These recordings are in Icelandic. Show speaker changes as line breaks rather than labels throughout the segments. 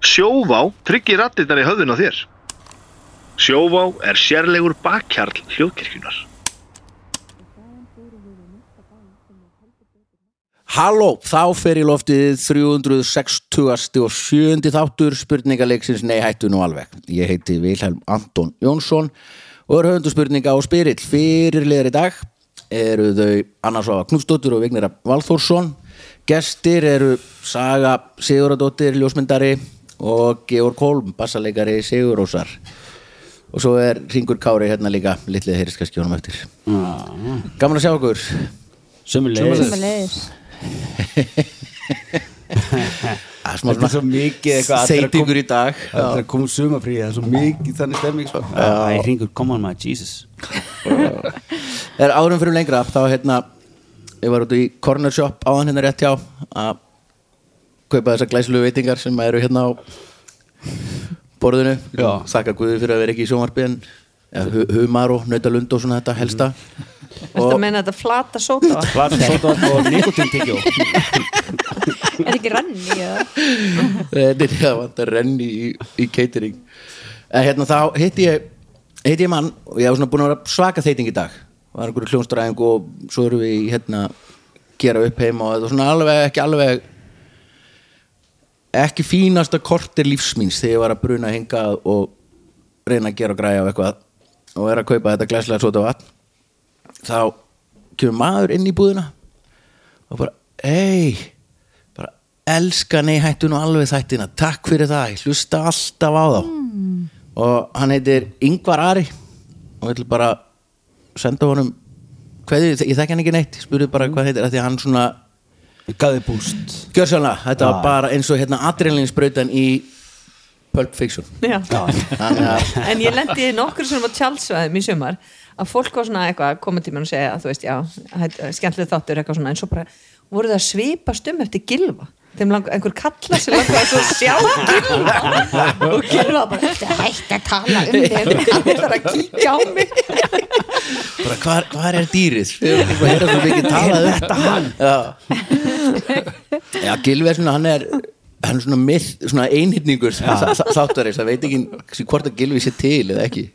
Sjóvá tryggir rattirnar í höfðun á þér. Sjóvá er sérlegur bakkjarl hljóðkirkjunar.
Halló, þá fer í loftið 360. og 7. þáttur spurningaleiksins Nei hættu nú alveg. Ég heiti Vilhelm Anton Jónsson og er höfundu spurninga á spyrill. Fyrirliðar í dag eru þau Anna Svafa Knúsdóttir og Vignir Valþórsson. Gestir eru Saga Siguradóttir, ljósmyndari og Georg Holm, bassaleikari Sigurósar. Og svo er Ringur Kári hérna líka, litlið heyriskaski honum eftir. Gaman að sjá okkur.
Sumulegis
Sömulegis
Það er
Þetta
smá
er svo
svona
mikið eitthvað allir að
seitingur í dag.
kom- Allir að koma sumafrí Það er svo mikið þannig stemming sko.
Æ, hringur, come on maður, Jesus
er árum fyrir lengra þá hérna ég var út í corner shop áðan hérna rétt hjá að kaupa þessar glæslu veitingar sem eru hérna á borðinu
Já.
þakka Guði fyrir að vera ekki í sjónvarpi en ja, hu- humar og nautalund og svona þetta helsta
Þetta meina þetta flata sóta vatn?
Plata, sota og nikotin tyggjó
Er ekki renni eða?
Þetta er það vant að renni í, í catering en hérna þá hitti ég hitti ég mann og ég var svona búin að vera svaka þeiting í dag var einhverju hljónstræðing og svo erum við í, hérna gera upp heima og þetta var svona alveg ekki alveg ekki fínasta kortir lífsmýns þegar ég var að bruna hingað og reyna að gera og græja og eitthvað og er að kaupa þetta glæslega sota vatn þá kemur maður inn í búðina og bara, ei bara elska nei hættu nú alveg þættina takk fyrir það, ég hlusta alltaf á þá Hmm. og hann heitir Ingvar Ari og ég ætla bara að senda honum hverju, ég þekki hann ekki neitt, ég spurði bara hvað hann heitir af því að hann svona,
Gaði búst
gjörsanlega þetta var bara eins og hérna adrenalinsbrautan í Pulp Fiction
Já.
þannig að
En ég lendi nokkur sem var tjálsvæðum í sumar að fólk var svona eitthvað að koma til mér og segja að þú veist, já, hætt- skemmtileg þáttur eitthvað svona, en svo bara voru það að svipast um eftir gilva þeim langar, einhver kalla sem langar að svo sjá gilva og gilva bara "Ertu hætt að tala um þeim hann er að kíkja á mig
bara hvar, hvar er dýrið Við erum bara að heyra svo mikið talað um þetta hann já, já Gilvi er svona hann er hann er svona, mið, svona einhittningur þáttarins, það veit ekki hvort að Gilvi sé til eða ekki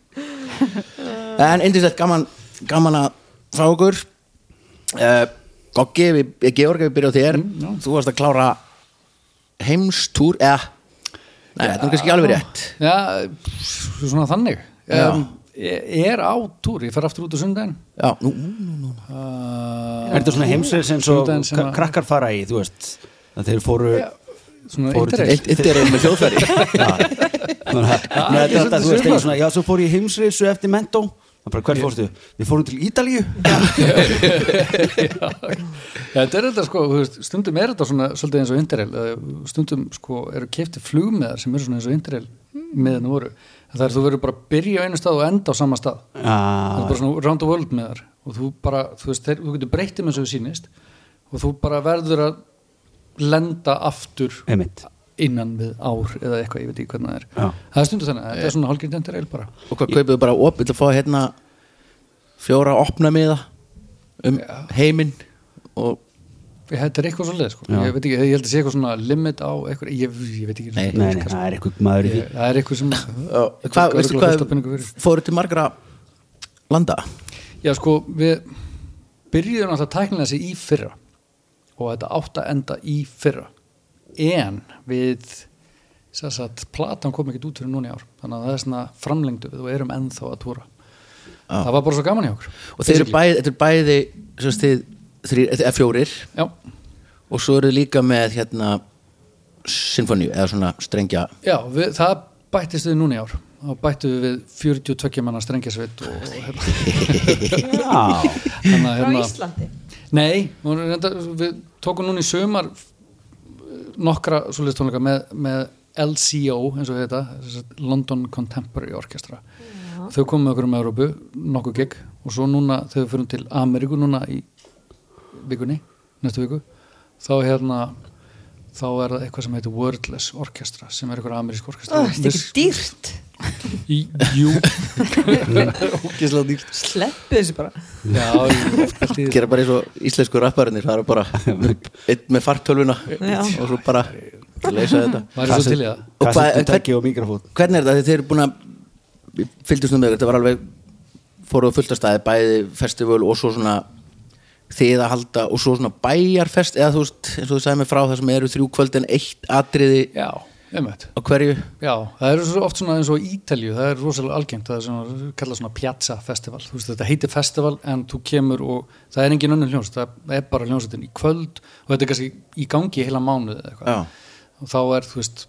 en yndislegt gaman gaman að fá okkur uh, Goggi, við, eh, ég gefur ekki að við byrja á þér þú varst að klára heimstúr eða, nei, þetta er nú kannski alveg rétt
Já, pff, svona þannig um, Ég er á túr, ég fer aftur út á sundaginn
já, nú,
Er þetta svona heimsreis eins og
Sundaginn sem
kra-
að-
krakkar fara í, þú veist að þeir fóru
Svona
Fóru til-
eitt
eitt, eitt er einn með hljóðfæri
Þannig að- Nei,
ég
þetta er alltaf,
svolítið
þú veist,
sumar.
einu svona, já, svo fór ég heimsreisu eftir mentó Það bara, Hvert fórstu? Við fórum til Ítalíu
Þetta er þetta sko, þú veist, stundum er þetta svona svolítið eins og interrail, eða stundum sko eru keifti flugmiðar sem eru svona eins og interrail miðan voru, En það er þú verður bara að byrja á einu stað og enda á sama stað það er
Já,
bara svona round the world miðar og þú bara, þú veist, þeir, þú getur breytið með þessu sýnist og þú bara verður að lenda aftur
einmitt
innan við ár eða eitthvað, ég veit ekki hvernig það er
Já.
það er stundum þannig, þetta er svona hálfgerð interrail bara
Og hvað kaupið þið bara opið til að fá hérna fjóra opna miða um heiminn og
Þetta er eitthvað svolítið sko. ég, veit ekki, ég held að sé eitthvað svona limit á eitthvað, ég, ég veit ekki
Nei.
Nei, nei, það er eitthvað maður í því
Ég, það er eitthvað sem
og hvað, veistu hvað fóru til margra landa
Já sko, við byrjuðum alltaf tæknilega sér í fyrra og þetta átt að enda í fyrra en við sem sagt, platan kom ekkert út fyrir núna í ár þannig að það er svona framlengdu við og erum ennþá að túra það var bara svo gaman hjá okkur
og þeir eru bæði, þetta er bæði sem sagt, þið, þrý, eða fjórir
Já,
og svo eru þið líka með hérna sinfoníu eða svona strengja
já við, það bættist við núna í ár þá bættu við 42 manna strengjasveit og, og hérna,
Já,
þannig að
frá
hérna,
Íslandi
Nei, hún er reynda, við tókum núna í sömar nokkra svoleiðis tónleika með, með LCO, eins og þetta London Contemporary Orchestra þau komum með okkur um Európu, nokkuð gig og svo núna þegar við fyrir til Ameríku núna í vikunni næstu viku, þá hérna þá er það eitthvað sem heitir Wordless Orchestra, sem er eitthvað amerísk orkestra
Það er ekki dýrt
Í- Jú Ógislega dýrt
Sleppu þessu bara
Já, ég hef oft pælt í því.
gera bara eins og íslensku rapparinnir það eru bara einn með fartölvuna
Já.
og svo bara til að leysa þetta
Væri svo til í það.
Og hvað-
Kassettutæki og mikrofón
Hvernig er þetta? Þegar þið eru búin að fylgdust um þau, þetta var alveg fóruðu fulltastæði, bæði festival og svo svona þið að halda og svo svona bæjarfest eða þú veist, eins og þú sagði mig frá það sem eru þrjú kvöldin eitt atriði
já, einmitt
á hverju
já, það eru svo oft svona eins og Ítalju það er rosalega algengt, það er svona kallað svona piazza festival, þú veist þetta heitir festival en þú kemur og það er engin önnur hljóns það er bara hljónsettin í kvöld og þetta er kannski í gangi í heila mánuð eða eitthvað
Já,
og þá er þú veist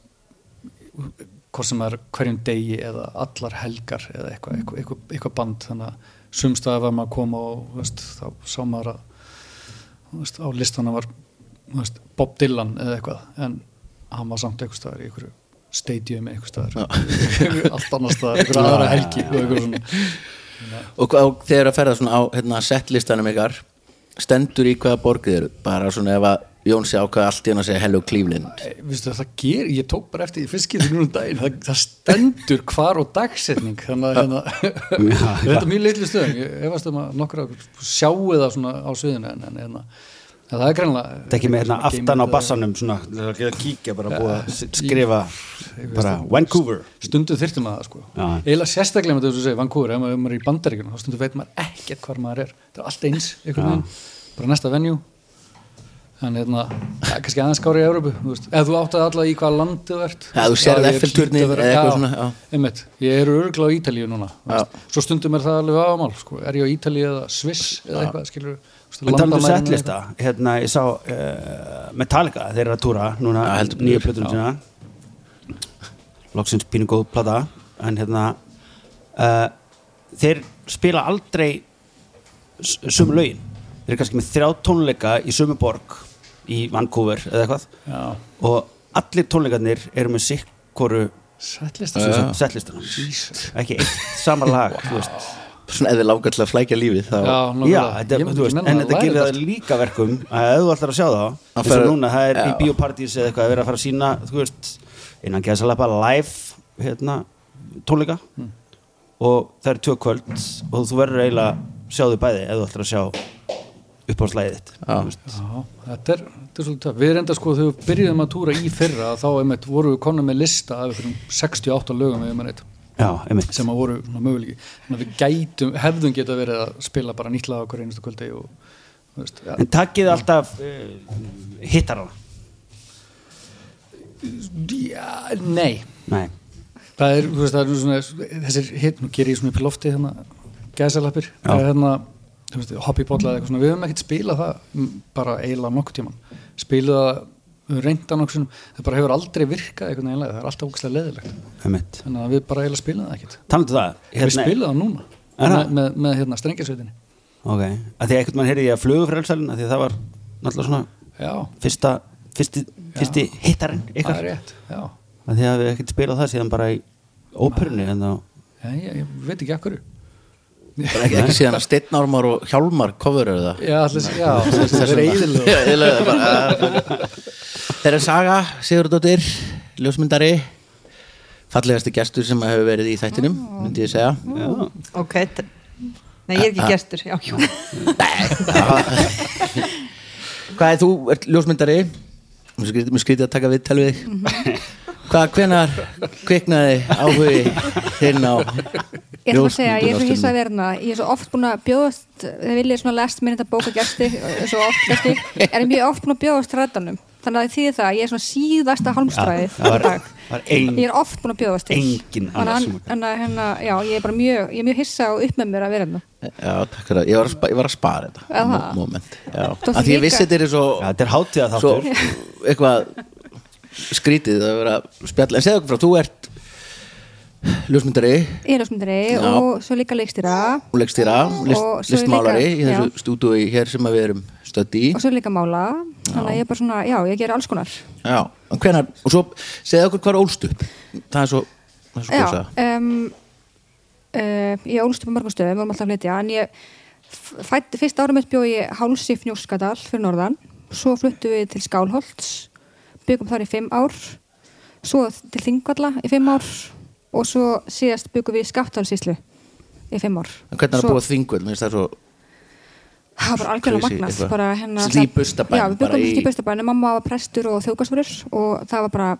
hvort sem er hverjum degi eða allar helgar eða eitthvað eitthva, eitthva, eitthva band þannig að sumstaði var maður að koma og þú veist, þá sá maður að þú veist, á listana var þú veist, Bob Dylan eða eitthvað en hann var samt eitthvað staðar í einhverju stadium eitthvað staðar allt annars staðar, einhverju aðra helgi og eitthvað svona
og, hvað- og þegar að ferða svona á hérna, settlistanum ykkar stendur í hvaða borgið eru bara svona ef að Jón sé ákvað allt í hann að segja hello Cleveland
Nei, Vistu, Eh, það ger, ég tók bara eftir í fiskið núna um daginn, það, það stendur hvar og dagsetning þannig að hérna, þetta er mjög litlu stöðum ég hefast um að nokkra sjáu það svona á sviðinu en, en, en, en það er greinlega
Þetta ekki með Eh, hérna
Svona
aftan á
geymd-
bassanum svona, til að geta kíkja bara búið að s- skrifa bara Vancouver
stundum þyrftum að það sko
Já.
eiginlega sérstaklega með þetta þú segir Vancouver ef maður, ef maður er í bandaríkjunum þá stundum veit maður ekkert hvar maður er þetta er allt eins einhvern veginn bara næsta venue en hérna ja, kannski aðeins skári í Európu þú veist. eða þú áttaði alltaf í hvaða land þú ert
Já, þú sérð
Já, ég
Eiffelturninn
hlýt að vera-
eða eitthvað
já,
svona, já.
einmitt, ég er örgla á Ítalíu núna þú veist. svo stundum er það alveg aðamál sko. er ég á Ítalíu eða Sviss eða eitthvað skilur
Við talum um settlista, hérna ég sá uh, Metallica, þeir eru að túra núna,
Já, heldur
nýju
betur,
plötunum sína Loksins pínu góð plata en hérna uh, þeir spila aldrei s- sömu lögin þeir eru kannski með þrjá tónleika í sömu borg í Vancouver eða eitthvað
Já.
og allir tónleikarnir eru með sikkoru
settlista
ja. settlistana ekki eitt sama lag þú veist.
svona ef þið langar til að flækja lífið þá
já,
já,
nákvæmlega.
þetta,
Ég myndi
þú veist,
nenna
en
að
þetta
læra
gerir það líka verkum að ef þú ætlar að sjá það eins og
fer-
núna, það er í
já.
biopartís eða eitthvað að vera að fara að sína þú veist, innan geða sælega bara live hérna, tónleika
Hmm.
og það er tvö kvöld og þú verður eiginlega að sjá þau bæði ef þú ætlar að sjá uppáðslæðið þitt
Já.
þú veist.
Já, þetta er, þetta er svolítið það. Við reynda sko þegar við byrjuðum að túra í fyrra þá einmitt voru við konar með lista af einhverjum 68 lögum eða einmitt
já, einmitt
sem að voru svona, möguleiki. Þannig að við gætum, hefðum geta verið að spila bara nýtt lag okkur einustu kvöldi og þú veist, ja,
en takkið alltaf uh, hittarana
já, nei.
nei,
Það er, þú veist, það er svona, þessir hit, nú ger ég svona upp í lofti hérna, gæsalappir, það er hérna, þú veist, hobbybolla eða eitthvað svona, við höfum ekkert spilað það mm, bara eiginlega nokkuð tíman. Spilað það, við höfum reynda nokkuð sinum, það bara hefur aldrei virkað einhvern veginn leið, það er alltaf ógæslega leðilegt.
einmitt
þannig að við bara eiginlega spilum það ekkert
talandu það hérna-
við spilum það núna
Er
með,
það?
með, með hérna strengjarsveitinni
Ok, að því að einhvern mann heyrði ég að flugu frælsælin að því að það var náttúrulega svona
já,
fyrsta, fyrsti, fyrsti hittarinn
það er
ykkar
rétt já.
að því að við ekkert spilað það síðan bara í óperunni en þá
Já, ég, ég veit ekki akkur
bara ekki, ekki síðan að steinnármar og hjálmar coverur það
já, allir, já, það er eiginlega
Þeirra Saga Sigurdóttir, ljósmyndari fallegasti gestur sem hefur verið í þættinum myndi ég segja
Mm.
ok t- nei ég er ekki gestur já, jú.
Hvað er þú, ert ljósmyndari Mér skrítið, mér skrítið að taka við tala við
Mm-hmm.
þig Hvað, hvenar kviknaði áhugi þinn á
Ég ætla bara að segja, ég er svo hissa
ljósmyndunarstundinni?
að verna ég er svo oft búin að bjóðast þegar vil ég svona last minute að bóka gæsti svo oft gæsti, er mjög oft búin að bjóðast rættanum, þannig að því það að ég er svona síðasta halmstræði
það var,
dag
var ein,
ég er oft búin að bjóðast til
engin
Þannig
annar
að-
sem
þannig að hérna, já, ég er bara mjög ég er mjög hissa og upp með mér að vera hérna
Já, takk fyrir að, ég var að, spa, ég var að spara þetta
Eða
Mo-
það?
moment, já,
Þú
að því ég
líka-
vissi þetta er svo
Já, þetta er hátíða
svo
þáttur
eitthvað skrítið að vera að spjalla en segðu okkur frá, þú ert ljósmyndari
ég er ljósmyndari
Já.
og svo líka leikstýra
og leikstýra,
Og
list,
svo er
listmálari
líka-
í þessu
já.
stúdíu hér sem að við erum stödd í
og svo líka mála þannig að ég er bara svona, já, ég ger alls konar
já, en hvenar, og svo segðu okkur hvar ólst upp það er svo, það er svo
Já,
kosa
um, uh, ég ólst upp á mörgum stöðum, við vorum alltaf að flytja en ég, f- fædd, fyrst árum mitt bjó ég háls í Fnjóskadal fyrir norðan svo fluttu við til Skálholts byggum þar í fimm ár svo til Þingvalla í fimm ár og svo síðast byggum við í Skáttalsíslu í fimm ár
en hvernig er
Svo-
að búa þingvöld, mér finnst það svo
það var bara algjörlega
Crazy,
magnað
eitthvað.
bara hérna
Í Burstabæ,
já, við
bara
byggum
í-
í bustabæn mamma var prestur og þjókastfyrir og það var bara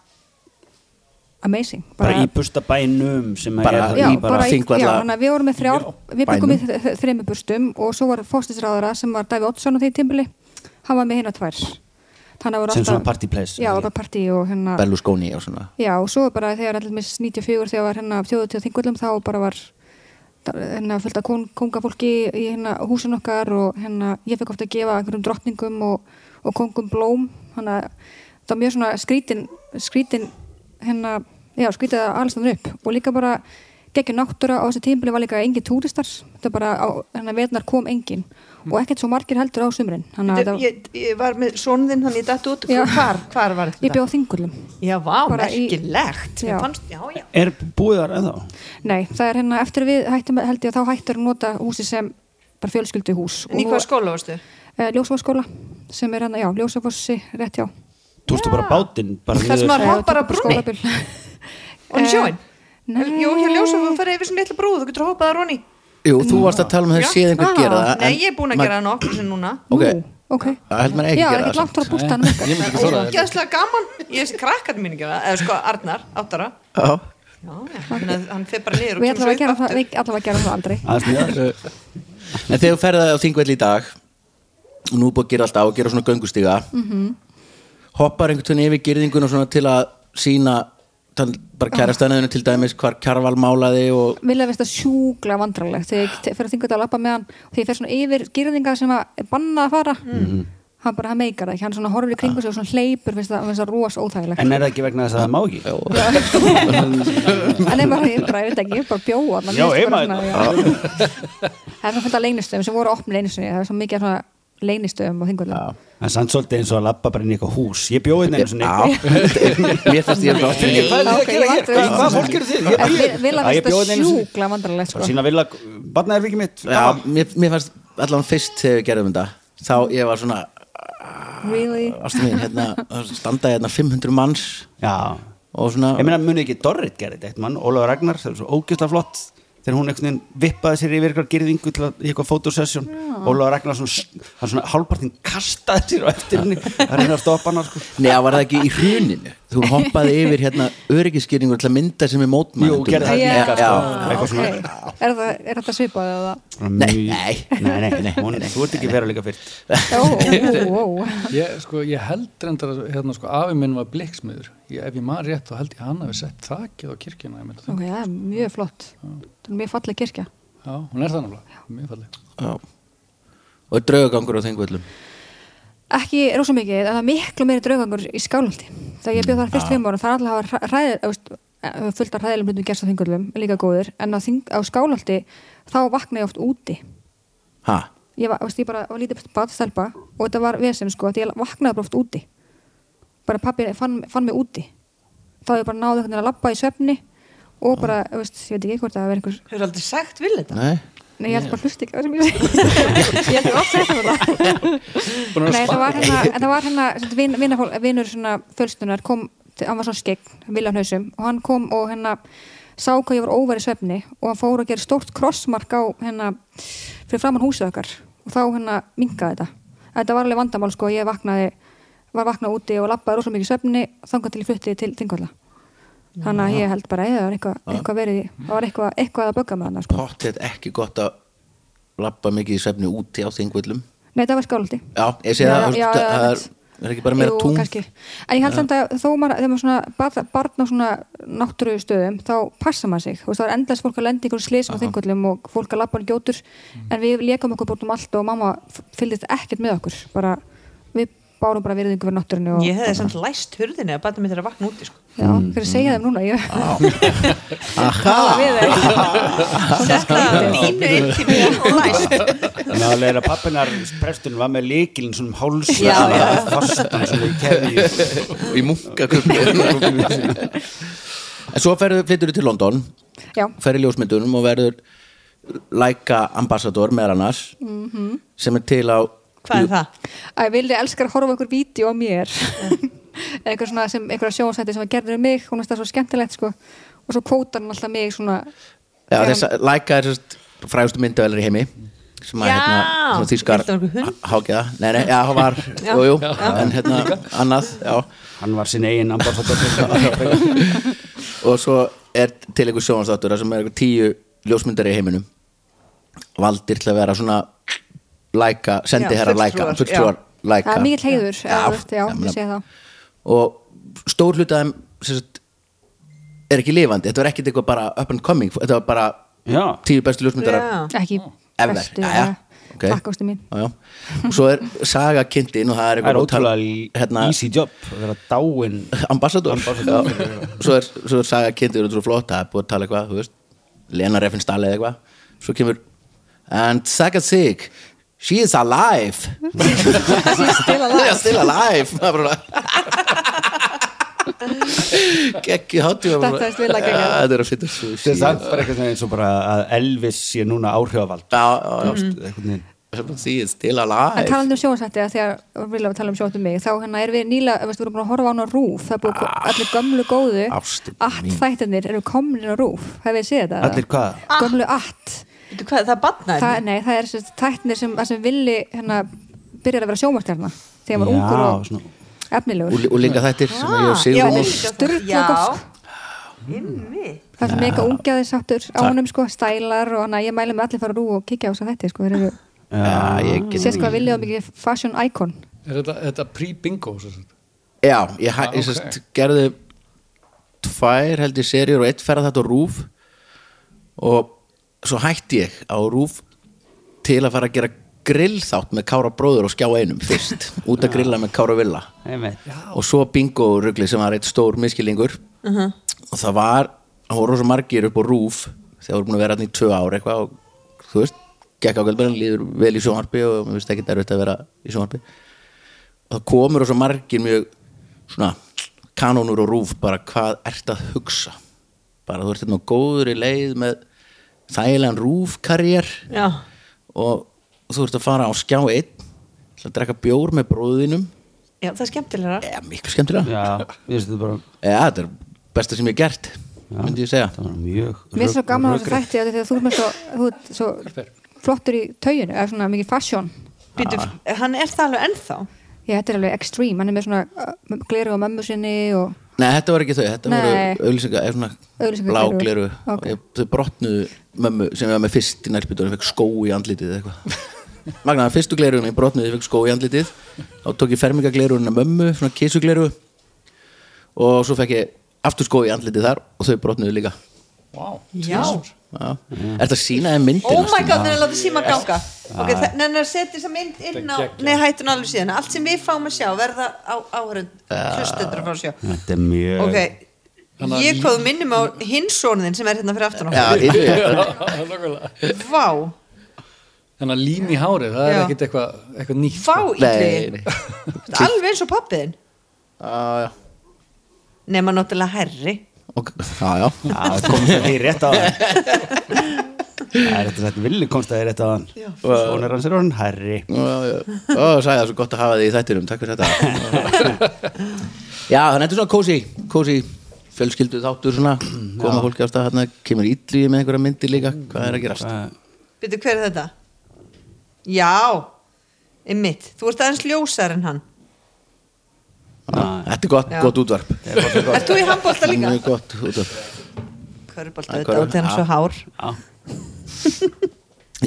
amazing
bara í bustabænum sem að
Bara-
er
já,
í
bara í,
Þingvalla-
já, þannig að við vorum með þrjár við byggum í
bænum.
þ- þremur burstum og svo var fórstisráðara sem var Davi Oddsson á því tímbili hann var með hérna tvær þannig að voru
Sem
alltaf-
svona party place.
já, bara partí og hérna
Berlusconi og svona
Já, og svo bara þegar allir mis 94 þegar var hérna þjóðu til þingullum þá bara var hérna fullt af kong, kongafólki í hérna húsin okkar og hérna ég fekk ofta að gefa einhverjum drottningum og, og kongum blóm þannig að það var mjög svona skrítin skrítin hérna já, skrítið að alls þannig upp og líka bara geggjum náttúra á þessu tímbili var líka engin túristar, þetta bara á hérna vetnar kom engin og ekkert svo margir heldur á sumrin þannig að
Þetta,
það,
ég, ég var með sonun þinn þannig ég dætt út
Já.
hvar, hvar var
ég
þetta?
bjóð þingullum
já, vá,
bara í-
merkilegt
Já.
Mér fannst, já, já
er búið þar ennþá
Nei, það er hérna, eftir að við hættum held ég að þá hættur að nota húsi sem bara fjölskyldu hús
En í hvað skóla varstu?
Eh, Ljósafossskóla, sem er hérna, já, Ljósafossi, rétt já
tókstu bara bátinn bara
Það
niður-
sem maður- hoppar
Eh,
af brúnni?
skólabíl.
Og í sjóin?
Eh, Nei.
Jú, hér ljósa, þú ferði yfir sem litla brú, þú getur hoppað að Ronni
Jú, þú
Mm.
varst að tala um þess séð einhver gera það
Nei,
en
ég er búin að
ma-
gera það nokkur sem núna
Ok,
Ok,
það held maður ekki
já,
að gera
ekkert
það
langt frá bústanum
Ég myndi ekki þóra þetta
Gæðslega gaman, ég veist krakkat mín ekki eða sko Arnar, áttara
Já.
Já, já, þannig að hann fer bara niður og
Við
kemur
ætlum
svo
að gera
upp
það,
aftur
við ætlum að gera það aldrei
aðeins neðar
En þegar þú ferðaði á þingvelli í dag og nú er búið að gera alltaf og gera svona göngustíga hoppar einhvern veginn yfir gyrðinguna svona til að sína bara kærastæðinu til dæmis hvar kjarval málaði og
Vilja veist það sjúkla vandrarlegt þegar ég te- fer að þingu þetta að lappa með hann þegar ég fer svona yfir gyrðingar sem að er bannað að fara
Mhm.
hann bara, hann meikar það ekki, hann svona horfir í kringu sig og svona hleypur, finnst það, finnst það rós óþægilegt
en er það ekki vegna þess að það má ekki
en ef maður hefur bara, ég veit ekki, ég er bara bjóa
Já, hérna. ef maður-
það er svona fullt af leynistöðum sem voru opnir einu sinni það er svo mikið af svona leynistöðum og þingurlega
en sann svolítið eins og að lappa bara inn í eitthvað hús ég bjóði einu svona
Já, mér fannst ég að
Ég- hvað er þið að gera hér? Hvað fólk eru þið? Ég bý-
vil
Já,
að
ég bjó
þetta
hérna einu sinni.
sjúkla vandrarlegt sko.
sína vilja, barna er vikið mitt
Já, mér, mér fannst allan fyrst þegar við gerðum þetta þá ég var svona
really
ástu mín, hérna, það standaði hérna 500 manns
já.
og svona
ég meina muni ekki Dorrit gerði þetta eitt mann Ólafur Ragnar, það er svo ógjösta flott þegar hún einhvern veginn vippaði sér yfir eitthvað gyrðingu til að, í eitthvað fotosessjón Ólafur Ragnar svona, hann svona hálpartinn kastaði sér á eftir henni að reyna að stoppa hann sko.
Nei, það var það ekki í hruninu Þú hoppaði yfir hérna öryggisskýringur til að mynda sem er mótmændum
Jú, gerði það
Já,
líka, sko.
já,
Eitthvað svona.
ok. er það- er þetta svipað eða
Nei, nei.
nei, nei, nei, hún, þú ert ekki vera líka fyrst
Ó, ó, ó, ó.
ég, sko, ég held reyndar að hérna, sko, afi minn var blikksmiður ég, ef ég man rétt þá held ég að hann hafi sett þakið á kirkjuna ég myndi það.
ok, það er mjög flott það er mjög falleg kirkja
Já, hún er það náttúrulega, mjög falleg
já Og er draugagangur á þingvöllum
ekki rosa mikið, en það er miklu meiri draugangur í skálhaldi, þegar ég bjóð þar fyrst fimm ára þar allir hafa hræ- hræðir þú veist, eh, fullt af hræðilegum hlutum gerst á þingullum, líka góður en á, þing, á skálhaldi, þá vakna ég oft úti
Ha,
ég var, þú veist, ég bara var lítið batstelpa og þetta var vesen sko, því ég vaknaði bara oft úti bara pappi fann, fann mig úti þá ég bara náði einhvern veginn að labba í svefni og bara, þú veist, ég veit ekki hvort að það verið einhver
Hefur aldrei sagt vil þetta?
nei
Nei, ég held bara hlusti ekki á það sem ég segi. Ég held bara oft þetta með það.
Búin að
Nei, það
spara.
var hérna, en það var hérna, sem vin, vinafól, vinur svona fjölstunar kom, til- hann var svona skegg, Viljan Hausum, og hann kom og hérna sá hvað ég var óvar í svefni og hann fór að gera stórt krossmark á hérna fyrir framann húsið okkar og þá hérna mingaði þetta. Þetta var alveg vandamál sko, ég vaknaði, var vaknað úti og labbaði rosalega mikið í svefni þangað til ég flutti til Þingvalla. Þannig að ég held bara eða það var eitthvað, eitthvað verið, í- það var eitthvað, eitthvað að bögga með hann sko.
Pottet ekki gott að labba mikið í svefni úti á þingvöllum
Nei, það var skáldi.
Já, ég sé það, það, það er, er ekki bara meira tún
Kannski. En ég held samt að þó maður, þegar maður svona barn, barn á svona náttúru stöðum, þá passa maður sig. Þú veist, það er endast fólk að lenda í einhverju slísum á þingullum og fólk að labba hann gjótur, en við leikum okkur búin um allt og mamma f- fylgdist ekkert með okkur. Bara, við bárum bara virðingu fyrir náttúrunni og
Ég hefði samt læst hurðinni að bæta mér þeirra vakna úti sko.
já, fyrir að segja þeim núna, ég
Aha,
við þeim.
Setla dínu inn til mér og læst
þannig að leira pappinar presturinn var með líkilinn svona um háls
Já, já.
fastan svona í keðju
í munkaköpni En svo ferðu, flyttur til London
Já,
fer í ljósmyndunum og verður læka ambassador meðal annars sem Mhm. er til á
Hvað er það?
að ég vildi elskar að horfa okkur vídeo á mér Eh. eða einhver svona sem, einhverja sjónsætti sem að gerður um mig, hún veist það svo skemmtilegt sko, og svo kvótar hann alltaf mig svona
já,
Já.
þess, læka er sérst frægustu myndavelar í heimi sem að hérna,
Já,
svona þýskar
ég held að það var einhver hund.
hágja, nei, nei, já, hann var
Já.
jú, jú, en hérna, annað, já
hann var sinn eigin ambassador
og svo er til einhver sjónastáttur þar sem er einhver tíu ljósmyndari í heiminum valdir til að vera svona læka, sendi herra
Já,
læka,
fulltrúar,
fulltrúar læka
það er mikill heiður já,
Já,
veist, já
ég
ég
meina-
segi það
og stór hluta þeim sem sagt, er ekki lifandi þetta var ekkit eitthvað bara up and coming þetta var bara
já,
tíu bestu ljósmyndarar
Já.
ekki
ever, já,
bestu, eða-
ok.
takk ástu mín
já, já. og svo er saga kynnt inn og það
það
er
er
eitthvað
ótrúlega
hérna,
easy job að vera dáin
ambassador, Já. svo, er, svo er saga kynnt inn og svo flott, það er búið að tala eitthvað þú veist, Lena Reffinstall eða eitthvað svo kemur and Saga Sig she is alive she is still alive still alive ekki hátíð
Þetta er still að gegja.
þetta er að fitta
þetta er samt bara eitthvað eins og bara að Elvis sé núna áhrifavald
já,
einhvern veginn
já, she is still
En
alive
talandi um sjónasætti að þegar við viljum tala um sjónasætti mig þá hérna er við nýla, veist, við erum búin að horfa á hana á rúf það er búin ah, allir gömlu góðu
Ástin
allt
mín.
þættinir eru komnir á rúf hefur þið séð þetta?
Allir hvað?
Gömlu allt
Veitu hvað, það batnaði
það, Nei, það er þessi þættinir sem, þar sem villi hérna, byrjar að vera sjónastjarna þegar maður ungur
Já,
og
svona-
og,
efnilegur
og líka þættir sem ég og
Ah. já,
Sigur
þetta er
Ós
sturlað gott,
Já Himmi
það er svo mega ungjaði sáttur á honum sko, stælar og hana, ég mæli með allir fara á rúf og kikja á þess að þetta sko, þeir eru,
Já, ég sko- get
sést hvað villi á mikið fashion icon
Er þetta, þetta pre-bingo? sem sagt?
Já, ég, ah,
Ah,
ég
ok.
sest, gerði tvær held ég serjur og eitt ferða þetta á rúf og svo hætti ég á rúf til að fara að gera grillþátt með Kára bróður og skjá einum fyrst út að grilla með Kára Villa
einmitt
og svo bingo rugli sem var eitt stór miskilingur og það var, það voru svo margir upp á rúf þegar voru búin að vera hann í tvö ár eitthvað og þú veist, gekk á kvöldmennin líður vel í sjónvarpi og mér finnst ekki erfitt að vera í sjónvarpi og það komur svo margir mjög svona kanónur og rúf bara hvað ert að hugsa bara þú ert hérna á góðri leið með þægilegan rúfkarriér
Já
og þú ert að fara á skjá einn til að drekka bjór með bróðinum
Já, það er skemmtilegra
eða miklu skemmtilega
já, ég veist þetta bara
Já, þetta er besta sem ég hef gert myndi ég segja
það var mjög
Mér er svo
rök-
gaman á þessu
rökrétt.
þætti af því að þú ert með svo, þú ert svo flottur í tauginu, eða svona mikið fashion
Býtu,
Ah.
hann er það alveg ennþá
Já, þetta er alveg extreme, hann er með svona uh, gleru á mömmu sinni og
Nei, þetta var ekki þau, þetta
Nei.
voru auðlýsinga eða svona
Auglýsingagleru.
blágleru
Ok.
okay. þau brotnuðu mömmu sem ég var með fyrst í nælbytunum, fekk skó í andlitið eða eitthvað Magnaðan fyrstu glerunum, ég brotnuði, ég fekk skó í andlitið þá tók ég fermingaglerunum af mömmu, svona kísugleru og svo fekk ég aftur skó í andlitið þar og þau brotnuðu líka
Vá,
Já
Já. Er þetta sína þeim myndir?
Oh my god, þannig að láta síma ganga Ok,
Ah.
þannig að setja þess að mynd inn á Nei, hættun alveg síðan Allt sem við fáum að sjá verða á áhörund
Ah.
Hlustendur að fá að sjá
þetta er mjög
Ok,
Þannig að-
ég kóðu minnum á hinsónuðin sem er hérna fyrir aftan
Já,
okkur
yrðu ég.
nákvæmlega.
Vá,
Þannig að lín í hárið, það er
Já.
ekkit eitthvað, eitthvað nýtt
vá
Nei,
ítli
nei.
Alveg eins og pappiðin
Já, já.
Nefna náttúrulega herri
Ok, já, já.
Já, það komst að því rétt á hann Það er þetta þetta villi komst að því rétt á hann Svona er hans er orðin herri
Já, já. Ó, sagði það svo gott að hafa þig í þættinum Takk fyrir þetta Já, þannig þetta er svona kósi Kósi, fjölskyldu þáttur svona Koma fólki á stað hérna, kemur ítlýi með einhverja myndir líka Hvað er að gerast?
Býtu, hver er þetta? Já, einmitt Þú ert aðeins ljósar en hann
Ah, Þetta er gott,
Já.
gott útvarp
Ert þú í handbólta líka?
Mjög gott útvarp
Körbólta
Nei,
auðvitað
körfu.
út þegar hann svo hár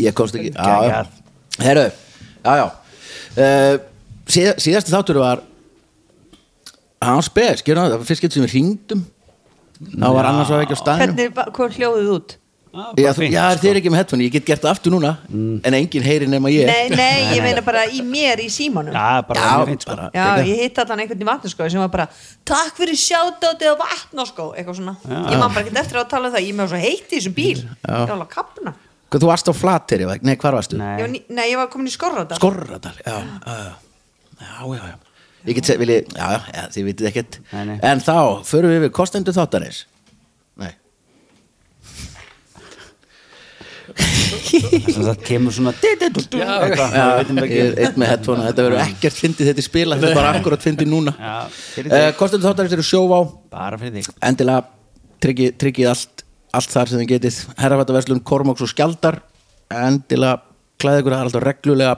Ég komst ekki Já,
Geggjað.
já Herru, já, já uh, síð, Síðasti þáttur var Hann spes, gerum það, það var fyrst getur sem við hringdum Það var annars var ekki á staðinu
Hvernig, ba- hvað er hljóðið út?
Ah,
Já, þú- já
sko.
þeir eru ekki með headphone, ég get gert það aftur núna
Mm.
en enginn heyri nema ég
Nei, nei, ég meina bara í mér, í símanum
Já, bara
Já,
mjög fint sko
bara,
Já, ég hitt allan einhvern í vatnaskói sem var bara Takk fyrir sjáttátið á vatnaskó Eitthvað svona Ég man bara ekkert eftir að tala um það Ég með svo heitt í þessum bíl Ég var alveg að kapna
Hvað, Þú varst á flateri, eða ekki? nei, hvar varstu?
Nei.
ég var, ný- Nei, ég var komin í skorradal
Skorradal, já Já, já, já, já. Ég get seg, vilji, já, já, já, þið vitið ekkert
Nei, nei.
En þá, förum við við kostendur þáttanis Nei
Þannig að kemur svona Eitthvað,
Já,
við veitum
ég
ekki
er einn með headphone þetta verður ekkert fyndið þetta í spila þetta er bara akkurat fyndið núna
Já, fyrir
uh,
þig.
kostendur þáttanis eru sjóvá
Bara fyrir þig
endilega tryggið, tryggið allt, allt þar sem þið getið herrafættaverslun, kormóks og skjaldar endilega rugglaði ykkur það er alltaf reglulega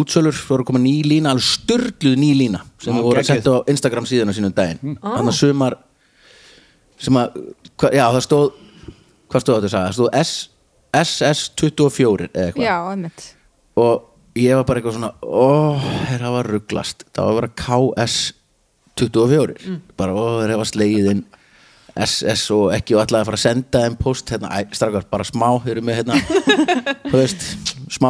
útsölur svo er að koma ný lína, alveg störluð ný lína sem
Já,
við voru að
geggjuð.
setja á Instagram síðan á sínum daginn þannig að sumar sem að, hva, já það stóð hvað stóð þetta að sagði, það stóð S, SS24 eða eitthvað
já, einmitt
og ég var bara eitthvað svona ó, þeir hafa rugglast það var bara KS 24 bara, ó, þeir hafa slegið inn SS og ekki og ætlaði að fara að senda þeim post hérna, æ, strákar, bara smá þeir eru með hérna, þú veist smá,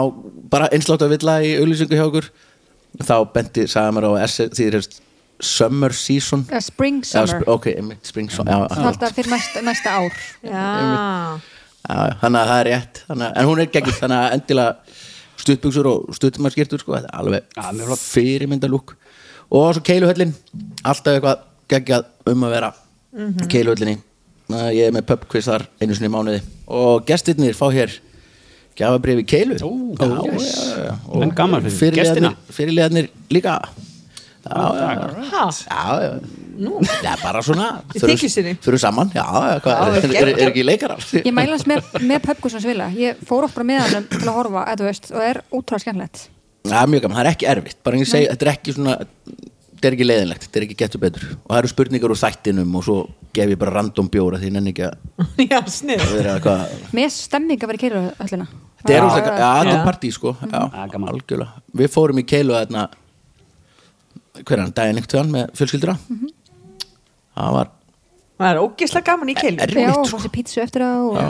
bara einslátt að villa í auðlýsingu hjá okkur þá benti, sagði mér á SS, því þeir eru summer season
Eh, spring
Já,
summer,
sp- ok, einmitt, spring summer já,
það er alltaf fyrir næsta, næsta ár
já,
Já, já, þannig að það er rétt þannig, að- en hún er geggjur, þannig að endilega stuttbuxur og stuttumarskirtur sko, þetta er alveg fyrirmynda lúk og svo keiluhöllin alltaf eitthvað geggjað um að vera
Mhm.
keiluhöllinni Þannig að ég er með pubquiz þar einu sinni í mánuði og gestirnir fá hér gjafabrifi keilu Ó, já, yes. já, já, og
En gaman fyrir
fyrirliðarnir-
gestina.
fyrirliðarnir líka já, já, já
ha,
Já, já. já, bara svona
Í
Förum-
þykjustunni.
förum saman, já, já, hvað,
Já,
er, er, er ekki leikarar
ég mæla hans með, með Pöpkusans vila ég fór oft bara með hann til að horfa eða þú veist, og er útrúlega skemmtilegt
Já, mjög gaman, það er ekki erfitt bara en ég segi, þetta er ekki svona þetta er ekki leiðinlegt, þetta er ekki getur betur og það eru spurningar úr þættinum og svo gef ég bara random bjóra því ég nenni ekki að
já, snið
vera eitthvað
með stemming að vera í keilu öllina
Þetta er óslega, já, þetta er
Já.
partí sko já,
Já, gaman.
algjörlega, við fórum í keilu þarna hver er hann, daginn ykkur tjóðan með fjölskyldura það var
það er ógislega gaman í keilu
já,
erfitt
og
sko
þessi pítsu eftir það og
Já.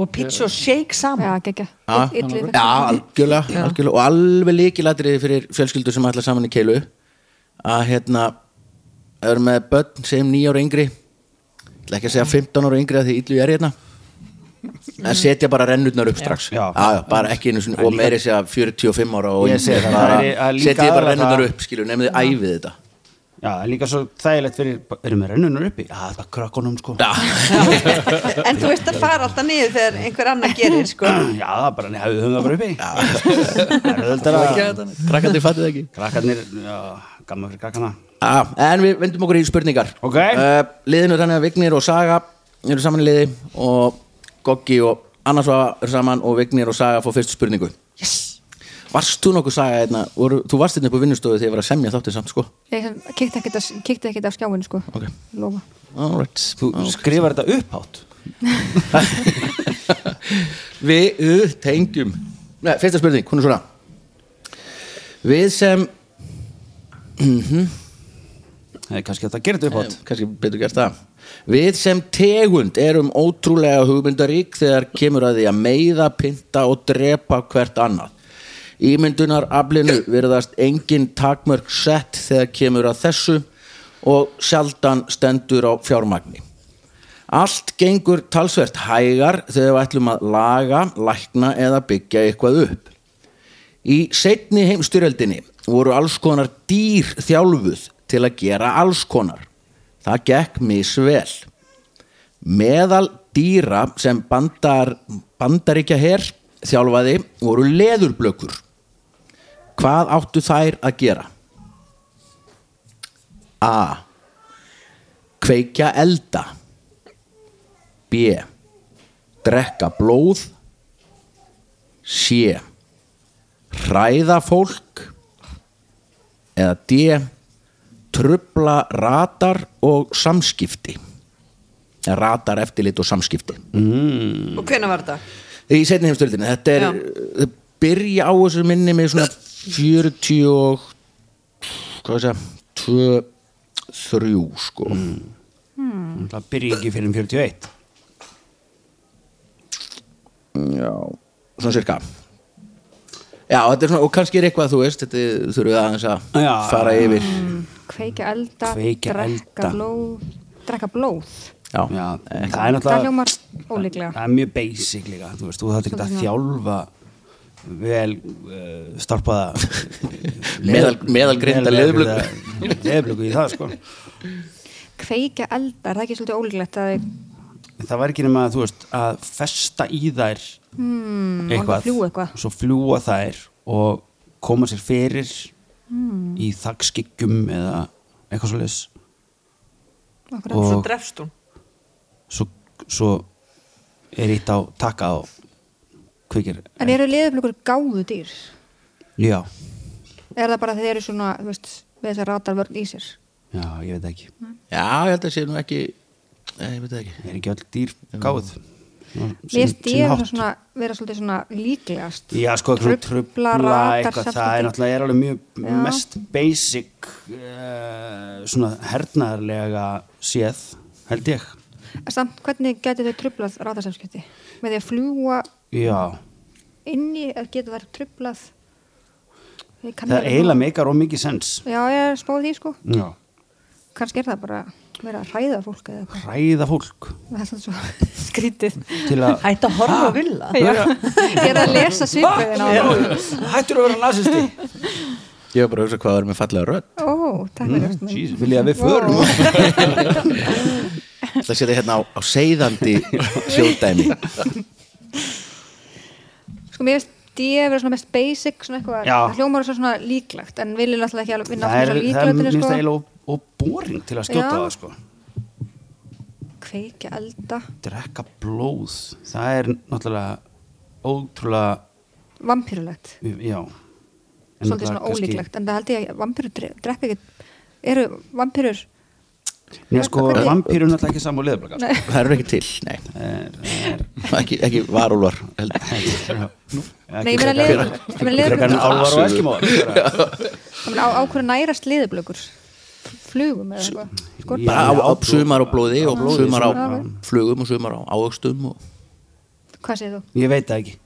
og pizza og shake
já,
saman
geggja,
Já,
Ill- illið
já algjörlega, algjörlega og alveg líkilatriði fyrir fjölskyldur sem ætla saman í keilu að hérna er með börn sem 9 ára yngri ætla ekki að segja 15 ára yngri að því illu ég er hérna að setja bara rennurnar upp strax
Já.
já, bara ekki einu sinni og meiri segja 45 ára og
Ég
yngri,
segi það,
bara
það er- það er líka
setja bara
aðra
rennurnar
það-
upp skilur, nefnið þið æfið þetta
Já, en líka svo þægilegt fyrir, erum við rennunar uppi? Já, það er krakkonum sko Já,
en þú veist að fara alltaf niður þegar einhver annar gerir sko
það er bara, nei, höfum við það bara uppi Það er auðvöldar að
krakkandi fattu það ekki
krakkarnir, já, gaman fyrir krakkana
Já, en við vendum okkur í spurningar
Ok.
Eh, Liðinu er þannig að Vignir og Saga eru saman í liði og Goggi og Annarsva eru saman og Vignir og Saga fá fyrstu spurningu Yes Varst þú nokkuð Saga hérna, voru, þú varst hérna upp á vinnustofu þegar ég var að semja þáttið samt sko
ég kikti ekkert á- kíkti ekkert á skjáin sko
Ok.
Lofa.
Alright
Þú skrifar þetta upphátt
Við uh, tengjum Nei, fyrsta spurning, hún er svona Við sem,
Það er kannski hægt að gera þetta
eh,
upphátt
kannski betur gert það Við sem tegund erum ótrúlega hugmyndarík þegar kemur að því að meiða, pynta og drepa hvert annað Ímyndunar aflinu verðast engin takmörk sett þegar kemur að þessu og sjaldan stendur á fjármagni Allt gengur talsvert hægar þegar við ætlum að laga, lækna eða byggja eitthvað upp. Í setni heimstyrjöldinni voru alls konar dýr þjálfuð til að gera alls konar. Það gekk misvel. Meðal dýra sem bandar, bandaríkja her þjálfaði voru leðurblökur. Hvað áttu þær að gera? A. Kveikja elda. B. Drekka blóð C. Hræða fólk eða D. Trubla ratar og samskipti Eða ratar eftirlit og samskipti
og hvenær var þetta?
í setni heimstöldinu þetta er, þau byrja á þessu minni með svona 40 og hvað það segja 2, 3 sko
Mm. Það byrja ekki fyrir um 41
Já, svona cirka Já, þetta er svona, og kannski er eitthvað þú veist, þetta þurfum við aðeins að
Já. Mm.
fara yfir
kveikja elda,
Kveikja
drekka
elda.
blóð drekka blóð,
Já,
Já,
eh,
það er
það
náttúrulega Ah.
hljómar ólíklega
Það er mjög basic líka, þú veist, þú þarf ekki að þjálfa vel uh, starpaða
Meðal- meðalgreinda
leðublöku leðublöku í það sko
kveikja elda, er það ekki svolítið ólíklegt að
það var ekki nema að þú veist að festa í þær
mm,
eitthvað,
fljúa eitthvað
svo fljúa þær og koma sér fyrir
Mm.
í þakkskyggjum eða eitthvað svo leis
Akkurat.
svo
og
drefst hún
svo, svo er ítt á taka á kveikir
En eru leðurblökur gáðu dýr?
já,
Er það bara þegar þeir eru svona, þú veist, með þessar ratarvörn í sér?
já, ég veit ekki
Já, ég held að sé nú ekki Nei, ég veit það ekki
er ekki öll dýr gáð
Mér finnst dýr svona, vera svolítið svona líklegast.
Já, sko, eitthvað
Trufla,
trubla,
ratar,
eitthvað, það
samskipti.
er náttúrulega er alveg mjög eh,
Já.
mest basic uh, svona hernaðarlega séð, held ég
En Samt, hvernig gæti þau trublað ratarsamskipti? Með því að fljúa
Já,
inni, að geta þær trublað? Ég kann
það
ekki-
eiginlega meikar og mikið sens
Já, ég er spáð því, sko.
Já,
Kannski er það bara verið að hræða fólk eða eitthvað.
hræða fólk
Það er svona svo skrítið.
til að
Hætt að horfa á villa
Já. Ég er að lesa svipurinn á það.
Hættur að vera nasisti
Ég var bara að hugsa hvað það er með fallega rödd
Ó, takk fyrir ástin mín.
Vil ég að við förum
Mm. Vá.
Það sé þetta hérna á, á seiðandi sjóðdæmi
Sko, mér finnst dýr vera svona mest basic, svona eitthvað.
Já.
Það hljómar er svona líklegt, en við erum alltaf ekki alveg vinna
Það er,
alltaf
það er
líklegtinu,
minnst
sko.
það eiginlega og, og boring til að skjóta
Já.
það sko
Kveikja elda.
Drekka blóð Það er náttúrulega ótrúlega
Vampýrulegt.
Já En
Svolítið svona
náttúrulega kannski-
ólíklegt, en það held ég að vampýrur drekka ekki, eru vampýrur,
Nei, sko,
Hvernig-
vampýru er náttúrulega ekki saman og leðblöka sko.
Það eru ekki til, nei Ekki, ekki varúlvar heldur.
nei, ég meina leður, ég meina
Frekar en
leður,
álvar og eskimóar
ég meina á, á hverju nærast leðurblökur, flugum eða eitthvað, skor,
Já.
Bara á, á sumar á blóði og
blóði,
sumar á
sumar á-
flugum og sumar á ávöxtum og...
hvað segir þú?
Ég veit það ekki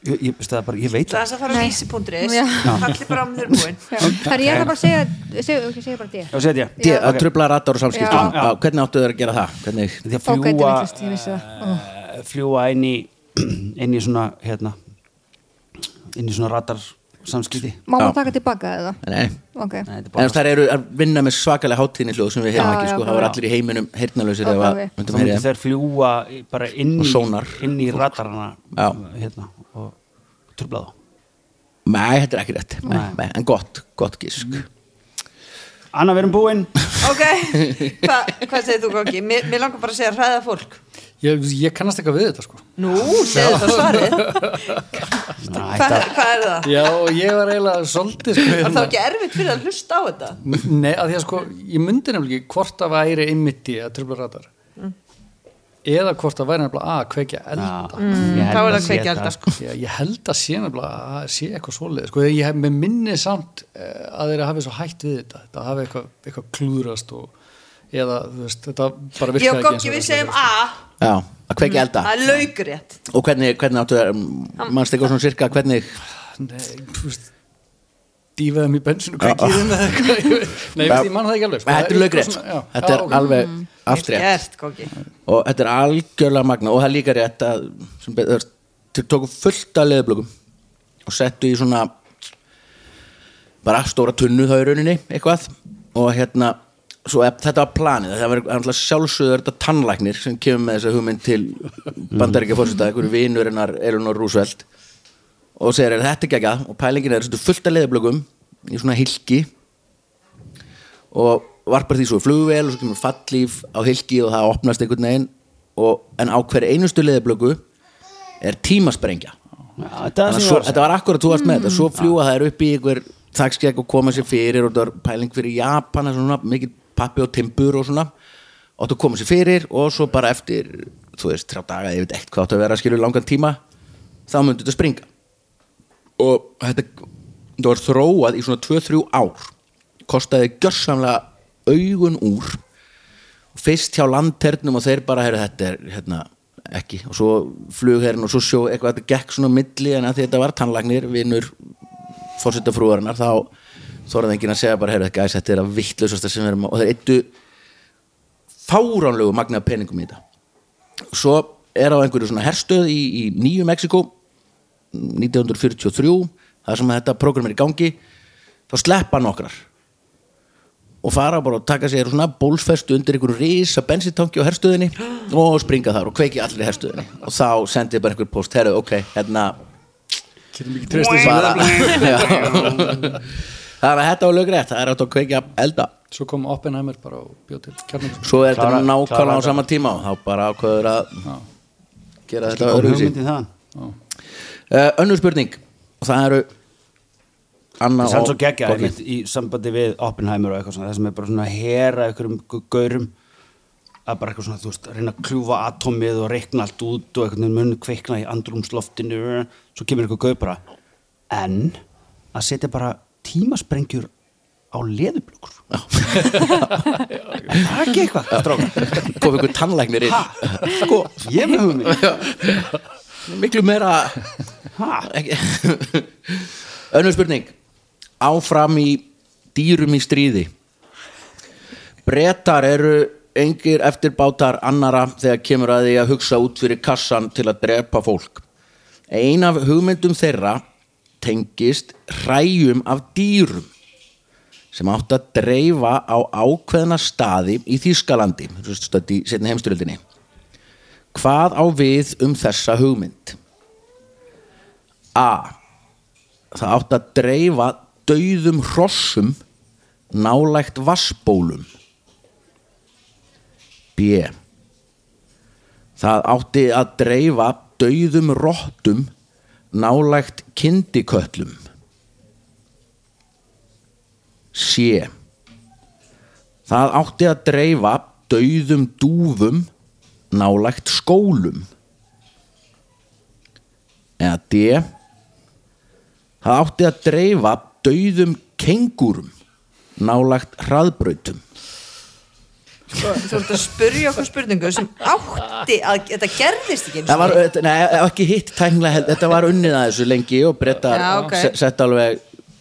Ég, ég, það er bara, ég veit
Það
það
er þess að fara á vísi.is
Já.
Hallir bara á með þeir búin
Já. Það er ég ætla bara að segja, segja, ok, segja bara dýr.
Já, setja
Dí, að
Ok.
trubla ratar og samskiptum
Já.
Já, Hvernig áttu þeir að gera það? Hvernig,
Því að
Ó, gæti
fljúa
villist, ég vissi það. Ó.
eh, Fljúa inn í inn í svona, hérna inn í svona radar samskipti
Má
Já.
maður taka tilbaka eða?
nei,
Ok,
Nei, þetta er
en
bara
þær eru að vinna með svakalega hátíðni hljóð sem við hefum
Já,
ekki
já,
sko,
já.
það var allir í heiminum heyrnalausir
Já,
ef að
ok.
þá
myndum
myndi
heyrja þeim.
þær fljúa í- bara inn
Og
í,
sónar.
inn í radarana
Já.
hérna og trubla þá
Nei, þetta er ekki rétt, nei,
Nei.
nei, en gott, gott gísk
Anna, við erum búin
Ok, Hva, hvað segir þú Góki? Mér, mér langar bara að segja hræða fólk
ég, ég kannast eitthvað við þetta sko
Nú, segðu það svarið Hvað hvað er það?
Já, og ég var eiginlega svolítið sko,
Var
hérna.
það ekki erfitt fyrir að hlusta á þetta?
Nei, að því að sko, ég myndi nefnilega ekki hvort að væri einmitt í að trubla radar eða hvort að væri nefnilega að kveikja elda
Þá
Mm, Þá er það kveikja elda sko
Já, ég held að sé nefnilega að það sé eitthvað svoleið sko, ég hef með minni samt eh, að þeirra hafi svo hætt við þetta þetta hafi eitthvað, eitthvað klúðrast og, eða þú veist, þetta
Ég
bara
og
virkaði
Góki við
eins
segjum
og
A
Já, að kveikja elda
Það er laukurétt
Og hvernig, hvernig áttu þeir, mannst eitthvað svona sirka, hvernig
þetta sko. Nei, þú veist dýfaðum í bensinu kveikirinn eða eitthvað ég veit- Nei, ég veist, ég man það ekki alveg sko.
Þetta er
Eitthvað
lögrétt,
svona- já.
þetta
Já,
er
ok. Mm.
alveg allt rétt
Gert Góki
og þetta er algjörlega magna og það er líka rétt að sem betur, þeir tóku fullt af leðublökum og settu í svona bara stóra tunnu þá í rauninni eitthvað og hérna svo ef- þetta var planið, það var alltaf sjálfsögur þetta tannlæknir sem kemur með þessa hugmynd til bandaríkja fórseta, einhverju vinurinnar Elinor Roosevelt og segir "Er þetta ekki ekki og pælingin er þetta fullt af leðublökum í svona hilki og varpar því svo í flugvél og svo kemur fallíf á hilki og það opnast einhvern veginn og, en á hver einustu leðiblöku er tímasprengja
Þetta er Mm.
Þannig að
sem ég
svo,
var að
þetta var akkurat þú varst með þetta svo fljúa það er upp í einhver þakskjæk og koma sér fyrir og þetta var pæling fyrir Japan svona, mikið pappi og timbur og svona og þetta koma sér fyrir og svo bara eftir þú veist, þrjá daga, ég veit eitt hvað átt að vera að skilja langan tíma þá myndi þetta springa og þetta, þetta var þróað í svona 2-3 ár kostaði gjörsamlega augun úr fyrst hjá landternum og þeir bara heyrðu þetta er hérna ekki og svo flugherrin og svo sjó eitthvað þetta gekk svona á milli en að því þetta var tannlagnir vinur fórsetafrúarinnar þá þorðið enginn að segja bara heyrðu gæs þetta er að vittlausasta sem við erum að- og þeir eittu fáránlegu magna af peningum í þetta svo er á einhverju svona herstöð í, í Nýju Mexiko 1943 þar sem þetta program er í gangi þá sleppa nokkrar og fara bara og taka sér svona bólsfestu undir einhverjum risa bensintanki á herstöðinni og springa þar og kveiki allir í herstöðinni og þá sendið bara einhver post herru, ok, hérna
Getum ekki treyst þessu
bara Já. þannig að þetta var lögrétt það er átt að kveikja elda
Svo kom Oppenheimer bara og bjóð til kjarnum
svo er þetta
Klára-
nákvæmlega á
klára
sama tíma og þá bara ákveður að gera þetta
segja.
öðruvísi
Hugmyndin þaðan
uh, önnur spurning og það eru Anna
Það er svo
og
geggja
Boggi.
einmitt, í sambandi við Oppenheimer og eitthvað svona það sem er bara svona að hera einhverjum gu- gaurum að bara eitthvað svona, þú veist, að reyna að kljúfa atómið og reikna allt út og einhvern veginn mun kveikna í andrumsloftinu svo kemur eitthvað gaur bara en að setja bara tímasprengjur á leðublökur Það er ekki eitthvað, stráka
kom ykkur tannlæknir inn
Sko, ég með hugmynd
miklu meira
Ha?
Ekki- önnur spurning áfram í dýrum í stríði brettar eru engir eftirbátar annara þegar kemur að því að hugsa út fyrir kassan til að drepa fólk ein af hugmyndum þeirra tengist hræjum af dýrum sem átt að dreifa á ákveðna staði í Þýskalandi stödd í setni heimstyrjöldinni hvað á við um þessa hugmynd? A. Það átt að dreifa dauðum hrossum nálægt vassbólum. B. Það átti að dreifa dauðum rottum nálægt kindiköllum. C. Það átti að dreifa dauðum dúfum nálægt skólum. Eða D. Það átti að dreifa dauðum kengurum nálægt hraðbrautum.
Svo, þú ert að spurja okkur spurningu sem átti að þetta gerðist ekki einu
Það var,
sinni.
nei, ekki hitt tæknilega held, þetta var unnið að þessu lengi og breyta
Já, ok.
sett alveg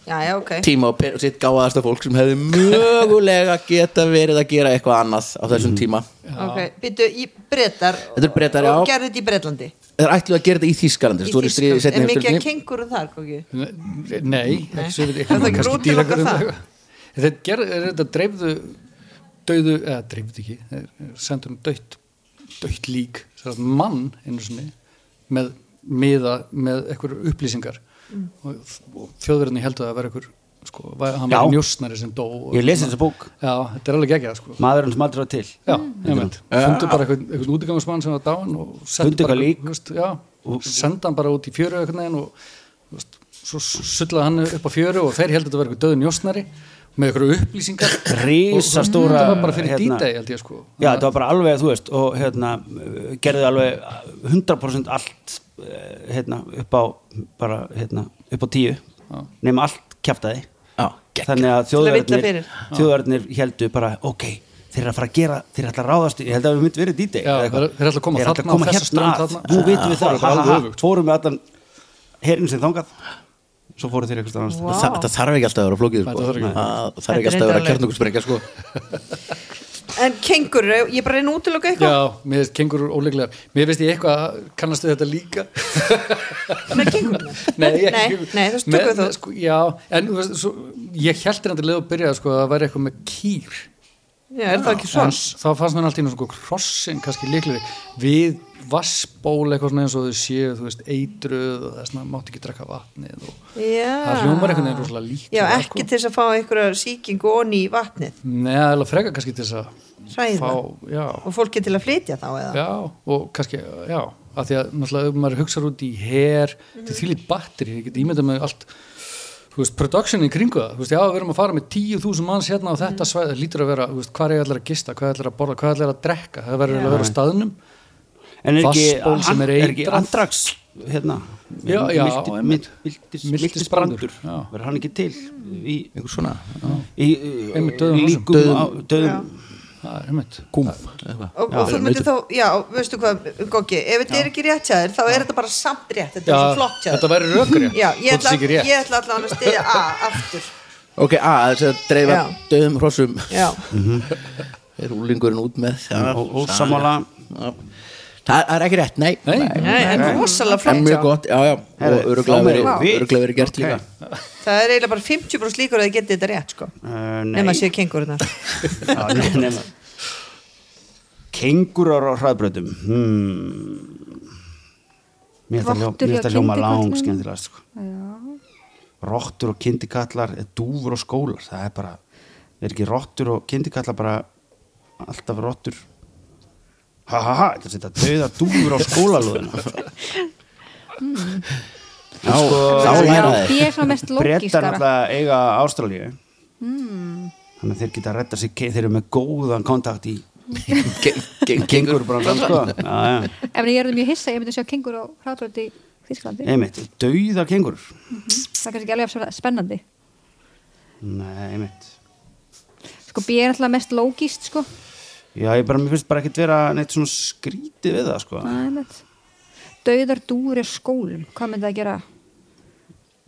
já, já, ok
tíma og pen- sitt gáðasta fólk sem hefði mögulega geta verið að gera eitthvað annað á þessum tíma.
ok, byttu í brettar
Þetta eru Bretar,
og
já.
gerði þetta í bretlandi
Það er ætlu að gera þetta í Þýskalandi, þú voru í stríði
er
setni
mikið að
heimstyrni.
kengur um þar kóki
Nei, nei, ekki svo ég veit
Það er
ekki
ekki
kannski
útilokað
dýragarður
það.
eða eitthvað. Þetta ger- er þetta dreifðu döðu, eða dreifðu ekki þeir sendur um dött dött lík, sem sagt mann einu sinni, með miða með einhverjur upplýsingar og, og þjóðverðinni heldur að það vera einhver sko, væ- hann
Já.
var njósnari sem dó og,
Ég lesi þessa bók,
Já, þetta er alveg geggjað sko
maðurinn sem aldrei var til
Já, Mm. einmitt, fundu bara einhvern, einhvern útigangsmann sem var dáin og sendu
Eh, ah. Fundu
bara
eitthvað lík.
þú veist, já, og senda hann bara út í fjöru einhvern veginn og þú veist, svo sullaði hann upp á fjöru og þeir heldur þetta verið döðin jósnari með einhverju upplýsingar
Rísastóra,
það var bara fyrir
hérna,
hérna, D-Day held ég sko
Já, þetta var bara alveg, þú veist, og hérna, uh, gerði alveg 100% allt uh, hérna, upp á bara, hérna, upp á tíu nema allt kjaftaði
Já,
þannig að
að villa
þjóðverðnir
fyrir.
þjóðverðnir heldu bara, ok þeir eru að fara að gera, þeir eru alltaf að ráðast í- ég held að við mynd verið díteg
Já, þeir- þeir eru alltaf að koma þarna á þessa
hérna
stund
að,
þarna.
nú vitum við
Já,
það,
það er
ha,
alveg
ha, ha,
öfugt.
fórum við allan herin sem þangað svo fóru þeir eitthvað annars
Vá.
wow.
Þa, þetta þarf ekki alltaf að vera flókið sko.
Þetta þarf ekki.
Það
Þetta
þarf
er
ekki alltaf að vera
reyndar
kjarnugursprengja sko.
en kengur, ég bara reyna að útiloka eitthvað
Já, mér veist kengurur óleiklegar Mér veist ég eitthvað að kannastu þetta líka
með kengurna
Nei, ekki
nei,
kengúrur.
nei, þú veist,
Með-
tökum við
með,
þó
sko, Já, en þú veist, svo, ég held þér endur leið að byrja sko að það væri eitthvað með kýr
já, er það ekki
en
svons
þá fannst mér alltaf einu svona krossin kannski líklegri við vassból eitthvað svona eins og þau séu þú veist eitruð og það er svona mátt ekki drekka vatnið og
já
það hljómar einhvern veginn rosalega líklega,
já,
sko.
ekki til þess að fá einhverja sýkingu onni í vatnið
neða eða freka kannski til þess að
hræða
fá, já,
og fólki til að flytja þá eða
já og kannski, já, að því að náttúrulega ef maður hugsar út í her þetta
Mhm.
er því lít batteri, ég get ímyndað með allt þú veist, production í kringu það þú veist, já, við erum að fara með 10.000 manns hérna á
Mhm.
þetta mm. svæð, það lítur að vera, þú veist, hvað er allir að gista hvað er allir að borða, hvað er allir að drekka það verður eiginlega að vera á staðnum
en er
Vatnsból
ekki,
sem er
er ekki
eitrað.
andrax hérna,
Já, já,
milti-
einmitt.
miltis,
Miltisbrandur,
miltisbrandur
já.
verður hann ekki til í
Einhver svona
í
Einmitt, dauðum hrossum.
líkum á döðum
það er einmitt
kúm eitthvað.
og, og þú myndir þá, já, veistu hvað Gogi, ef þetta er ekki rétt hjá þér þá er þetta bara samt rétt, þetta er
Já,
svo flott hjá
þetta
þér
væri rökrétt
já, ég
þótt
ætla,
sé ekki rétt.
ég ætla allan að stiðja A aftur
Ok, A, þess að dreifa
Já.
döðum hrossum
já,
er úlingurinn út með það,
og, og sammála
Já. það það er ekki rétt, nei,
Nei,
nei, en
En
rosalega flott sko.
mjög
hjá
gott, já, já, og
Herðu,
öruglega
þá
verið
erum við.
öruglega verið gert
Ok.
líka
það er eiginlega bara 50% líkur að þið getið þetta rétt, sko
uh,
nema
nema
að séu kengurnar
Já, nei, nema. kengurar á hraðbröðum hmm. mér þetta hljó-
Rottur
mér
hjá
þetta hljóma
kindiköllum.
lang skemmtilega sko. rottur og kindikallar eh, dúfur og skólar það er bara, er ekki rottur og kindikallar bara alltaf rottur ha ha ha, þetta er þetta döða dúfur á skólalúðina
Þá, þá læra
Mm. Sko, Já,
þeir
ég er svona mest
brettar
logískara
náttúrulega eiga Ástralíu þannig að þeir geta að redda sig þeir eru með góðan kontakt í
Ge- ge-
gengur bara sko. Já, já.
Ef ég er mjög hissa, ég myndi sjá kengur á hraðbröndi í Þýskalandi
einmitt, dauða kengur
Það er kannski ekki alveg jafn spennandi
nei, einmitt
Sko, B er náttúrulega mest logíst, sko
já, ég bara, mér finnst bara ekkert vera neitt svona skrítið við það sko.
Það er með Dauðar dúr í skólum, hvað myndi það gera?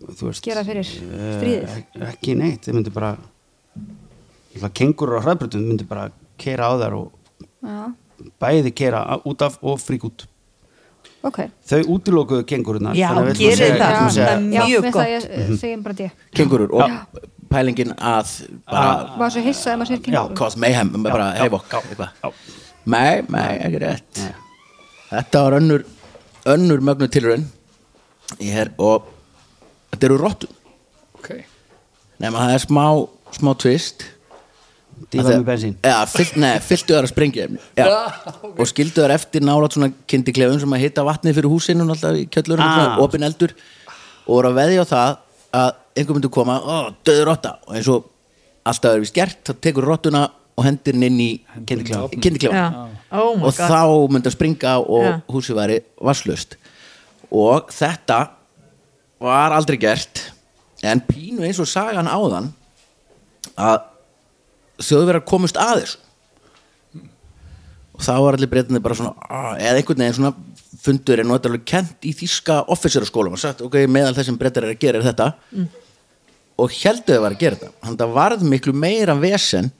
þú veist
Gera fyrir
eh,
stríðið.
ek- ekki neitt, þeir myndi bara kengur á hraðbrutum myndi bara kera á þær og
Já,
bæði kera út af og frík út
ok
þau útilokuðu kengurunar
Já, gerið það. Það er
Já,
Mjög
með
gott.
það ég eh, segjum bara D
kengurur og pælingin að bara
Var svo hissa ef maður sér
Já,
kengur
cause mayhem, bara heifokk
já.
Nei, nei, ekki rétt Þetta var önnur önnur mögnu tilraun Ég er, og þetta eru rottum
ok,
nema það er smá, smá twist
dýfa með bensín Ah,
Já, fyllt, nei, fylltu þar að sprengja Já, og skildu þar eftir nálat svona kindiklefun sem að hitta vatnið fyrir húsinu alltaf í kjöllurinn,
Ah.
ah. opin eldur og voru að veðja á það að einhver myndi koma, ó, döður rotta og eins og alltaf er við skert þá tekur rottuna og hendir henni inn í kindiklefun,
Já.
Ah.
Oh my
og
God.
þá myndi að springa og
Já.
húsið væri vasslust og þetta var aldrei gert en pínu eins og sagan áðan að þjóðverðar komust að þessu og þá var allir breytinni bara svona "Ah," eða einhvern veginn svona fundurinn og þetta er alveg kent í þýska offiseraskólum og sagt ok, meðal þessum breytar er að gera er þetta
Mm.
og heldur þau var að gera þetta þannig að það varð miklu meira vesen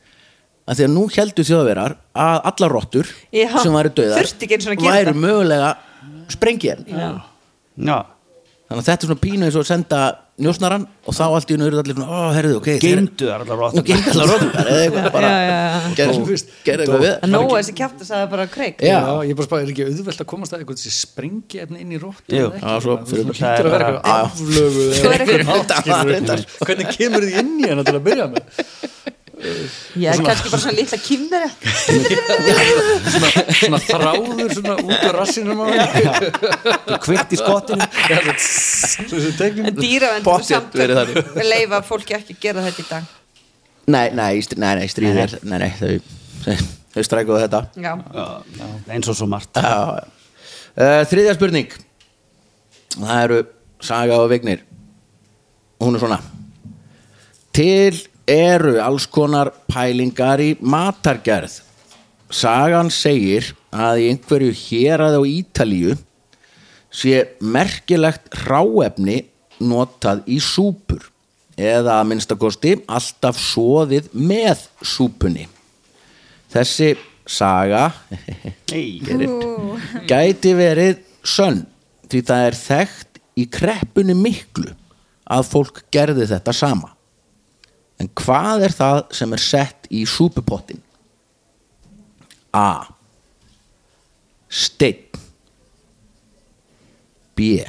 að því að nú heldur þjóðverðar að allar rottur
Já,
sem væru döðar
þurfti ekki einu sinni að gera
væru
þetta.
mögulega sprengið
já,
þannig að þetta er svona pínu eins og að senda njósnaran og þá allt í unni eru allir svona, ó, herðu, ok þeir-
geimdu þar allar
Nú
rottum
geimdu allar rotturnar eða eitthvað bara
Já, já, já.
gerðu gerðu eitthvað við
En nóa þessi kjátt að það bara kreik
Já.
já, ég bara spara, er ekki auðvelt að komast að eitthvað þessi sprengi efni inn í rótt
Jú.
Já, svo fyrir-
fyrir hýttur að vera
Það er
eitthvað aflögu
Svo er
eða
eitthvað-
eitthvað hátt,
Já,
skilur við.
reyndar.
hvernig kemur þið inn í hana til að byrja með
Ég er kannski bara svona litla kynveri
svona, svona þráður svona út á rassinum á henni
þú kvikt í skottinu
svo þessi teiknum
Dýravendur
Pottþétt verið þannig.
samtök leifa fólki ekki að gera þetta í dag
Nei, nei, í strí- nei, nei, stríðið er Nei, nei, þau, þau strækuðu þetta
Já,
eins og svo margt
Já, já. uh, Þriðja spurning Það eru Saga og Vignir Hún er svona Til eru alls konar pælingar í matargerð Sagan segir að í einhverju héraði á Ítalíu sé merkilegt ráefni notað í súpur eða að minnstakosti alltaf soðið með súpunni þessi saga Get it. gæti verið sönn því það er þekkt í kreppunni miklu að fólk gerði þetta sama en hvað er það sem er sett í súpupottin A steinn B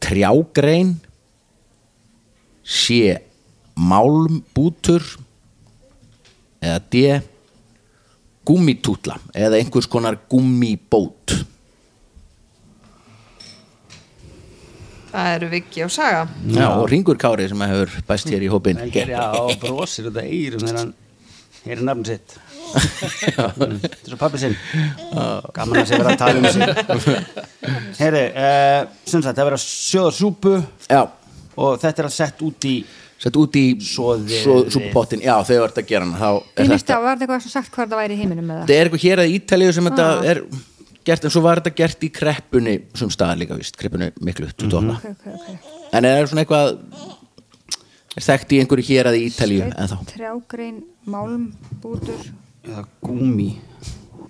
trjágrein C málmbútur eða D gummitútla eða einhvers konar gummibót
það eru Viki og Saga
Já, og Ringur Kári sem hefur bæst hér í hópin
já, brosir þetta eirum þegar hann hér er nafn sitt Mm, þetta er svo pappi sinn gaman að sé vera að tala um sig herri, uh, sem sagt það er verið að sjóða súpu
Já,
og þetta er að sett út í
sett út í
Soðið.
súpupottin Já, þau vart að gera hana þá
Ég
er
misti
þetta
að var þetta eitthvað svona sagt hvað það væri í heiminum með það
Það er eitthvað hér að Ítalíu sem þetta
Ah.
er gert en svo var þetta gert í kreppunni sem staðar líka víst, kreppunni miklu 28
Ok, ok,
En er það svona eitthvað er þekkt í einhverju hér að Ítalíu en þá
ok Trjágrein, málm, bútur
eða gúmi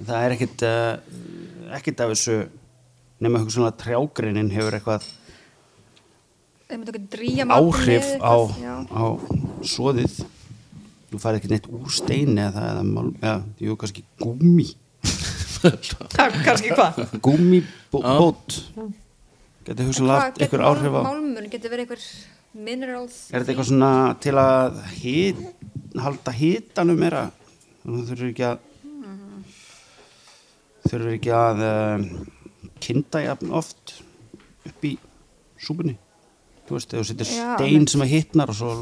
það er ekkit uh, ekkit af þessu nema hugsanlega trjágrinin hefur eitthvað
Þeir myndi okkur dríja matinn
áhrif
með
á,
eitthvað, já.
á svoðið þú farið ekki neitt úr stein eða það eða mál, ja, jú, kannski gúmi
Það er kannski hvað
gúmi bót getur
En
hugsanlega
hvað
haft einhver
getur mál-
áhrif á
Málmur getur verið einhver minerals
er þetta eitthvað svona til að hit, halda hitanum meira þú þurfur ekki að þurfur ekki að uh, kynda ehm, jafn oft upp í súpunni þú veist, þegar þú setur
Já,
stein
einmitt.
sem að hittnar og svo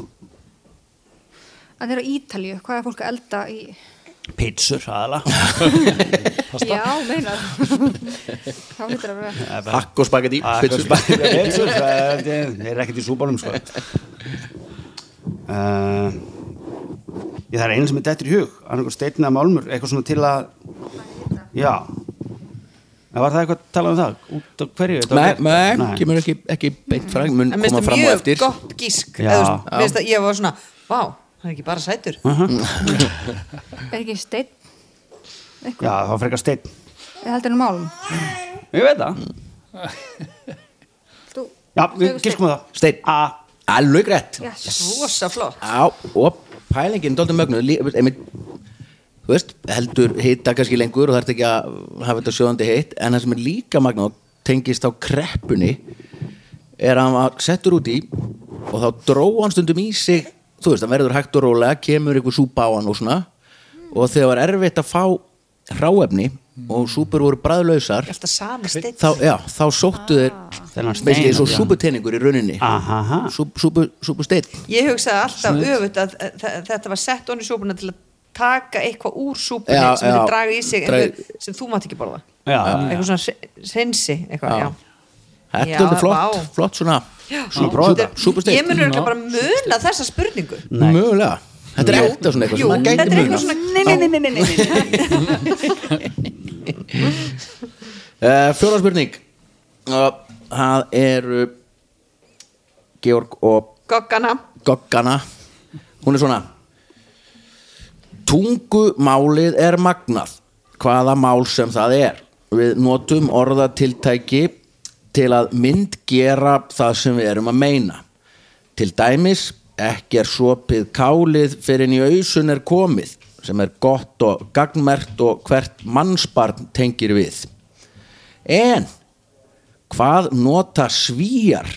En þeir eru á Ítalíu, hvað er fólk að elda í
pizzur aðala
Já, meinar Þá lítur að vera
Hakk og spagetti
Ah,
pizzur.
pizzur það er ekkert í súpunum sko uh, ég það er einu sem er dættur í hug annarkur steinna málmur, eitthvað svona til að já En var það eitthvað að tala um það? Út af hverju? þetta var
Nei,
gert?
nei, kemur ekki, ekki beint fræg mun
en minnst
koma
það
fram á
mjög
eftir
gott gísk
Já.
eða, þú veist, mér finnst að ég var svona, vá, það er ekki bara sætur
Er ekki steinn,
Já, það var frekar steinn
eða heldur en málum
Ég veit það
Þú,
Já, við
Sögusteinn.
giskum á það
Steinn.
A
Alveg rétt
yes
rosa flott
Já, og pælingin dóltum mögnu einmitt, þú veist, heldur hitta kannski lengur og það ert ekki að hafa þetta sjóðandi hitt en það sem er líka magna og tengist á kreppunni er að hann var settur út í og þá dró hann stundum í sig þú veist, hann verður hægt og rólega, kemur einhver súpa á hann og svona og þegar var erfitt að fá hráefni og súpur voru bræðlausar
alltaf sami steinn
þá, já, þá sóttu þeir
Þennan stein,
basically svo
já.
súputeningur í rauninni
Aha.
Súp- súpu- súpusteinn
ég hugsaði alltaf öfut að að þa- þetta var sett onni súpuna til að taka eitthvað úr súpunni
Já,
sem
já.
þið draga í sig
Drag-
einhver, sem þú mátt ekki borða
Já,
eitthvað svona hre- hreinsi eitthvað,
Já.
já.
Þetta
Já,
er svolítið flott,
vá.
flott svona
svona prófa
Þetta er-
þetta
Súpersteinn.
ég munur ekki bara muna þessa spurningu
Mögulega Þetta er ekta svona eitthvað
Jú,
sem maður
þetta
gæti
er eitthvað
muna
svona nei, nei, nei, nei, nei, nei, nei, nei.
uh, Fjóra spurning uh, Það eru Georg og
goggana
Goggana Hún er svona Tungumálið er magnað Hvaða mál sem það er Við notum orðatiltæki til að myndgera það sem við erum að meina Til dæmis ekki er sopið kálið fyrir en í ausun er komið sem er gott og gagnmert og hvert mannsbarn tengir við En hvað nota svíjar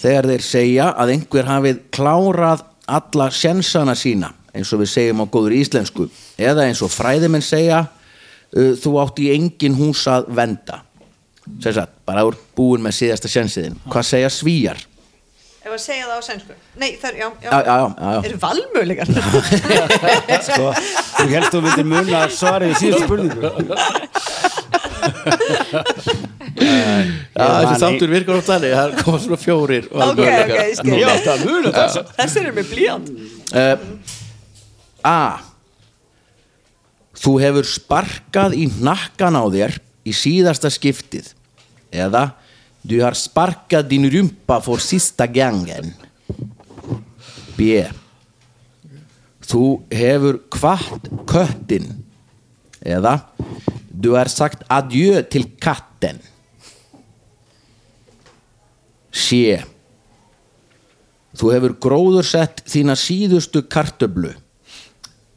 þegar þeir segja að einhver hafið klárað alla sjensana sína eins og við segjum á góður íslensku eða eins og fræðimenn segja uh, þú átt í engin hús að venda sem sagt, bara úr búin með síðasta sjensiðin hvað segja svíjar?
ef að segja það á sænsku nei, það er, já, já,
Já, já, já, já.
eru valmöðlegar
sko, Þú helst þú myndir muna svarið í síðustu spurningu
Já, þessi
man
þáttur virkar oft þannig það koma svona fjórir
ok, ok, ég skil
Já, það muna þess
þessi eru með blíjand
A Þú hefur sparkað í hnakkan á þér í síðasta skiptið eða Du har sparkað din rumpa for sista gangen B Þú hefur kvart köttin eða Du har sagt adjö til katten C Þú hefur gróðursett þína síðustu kartöblu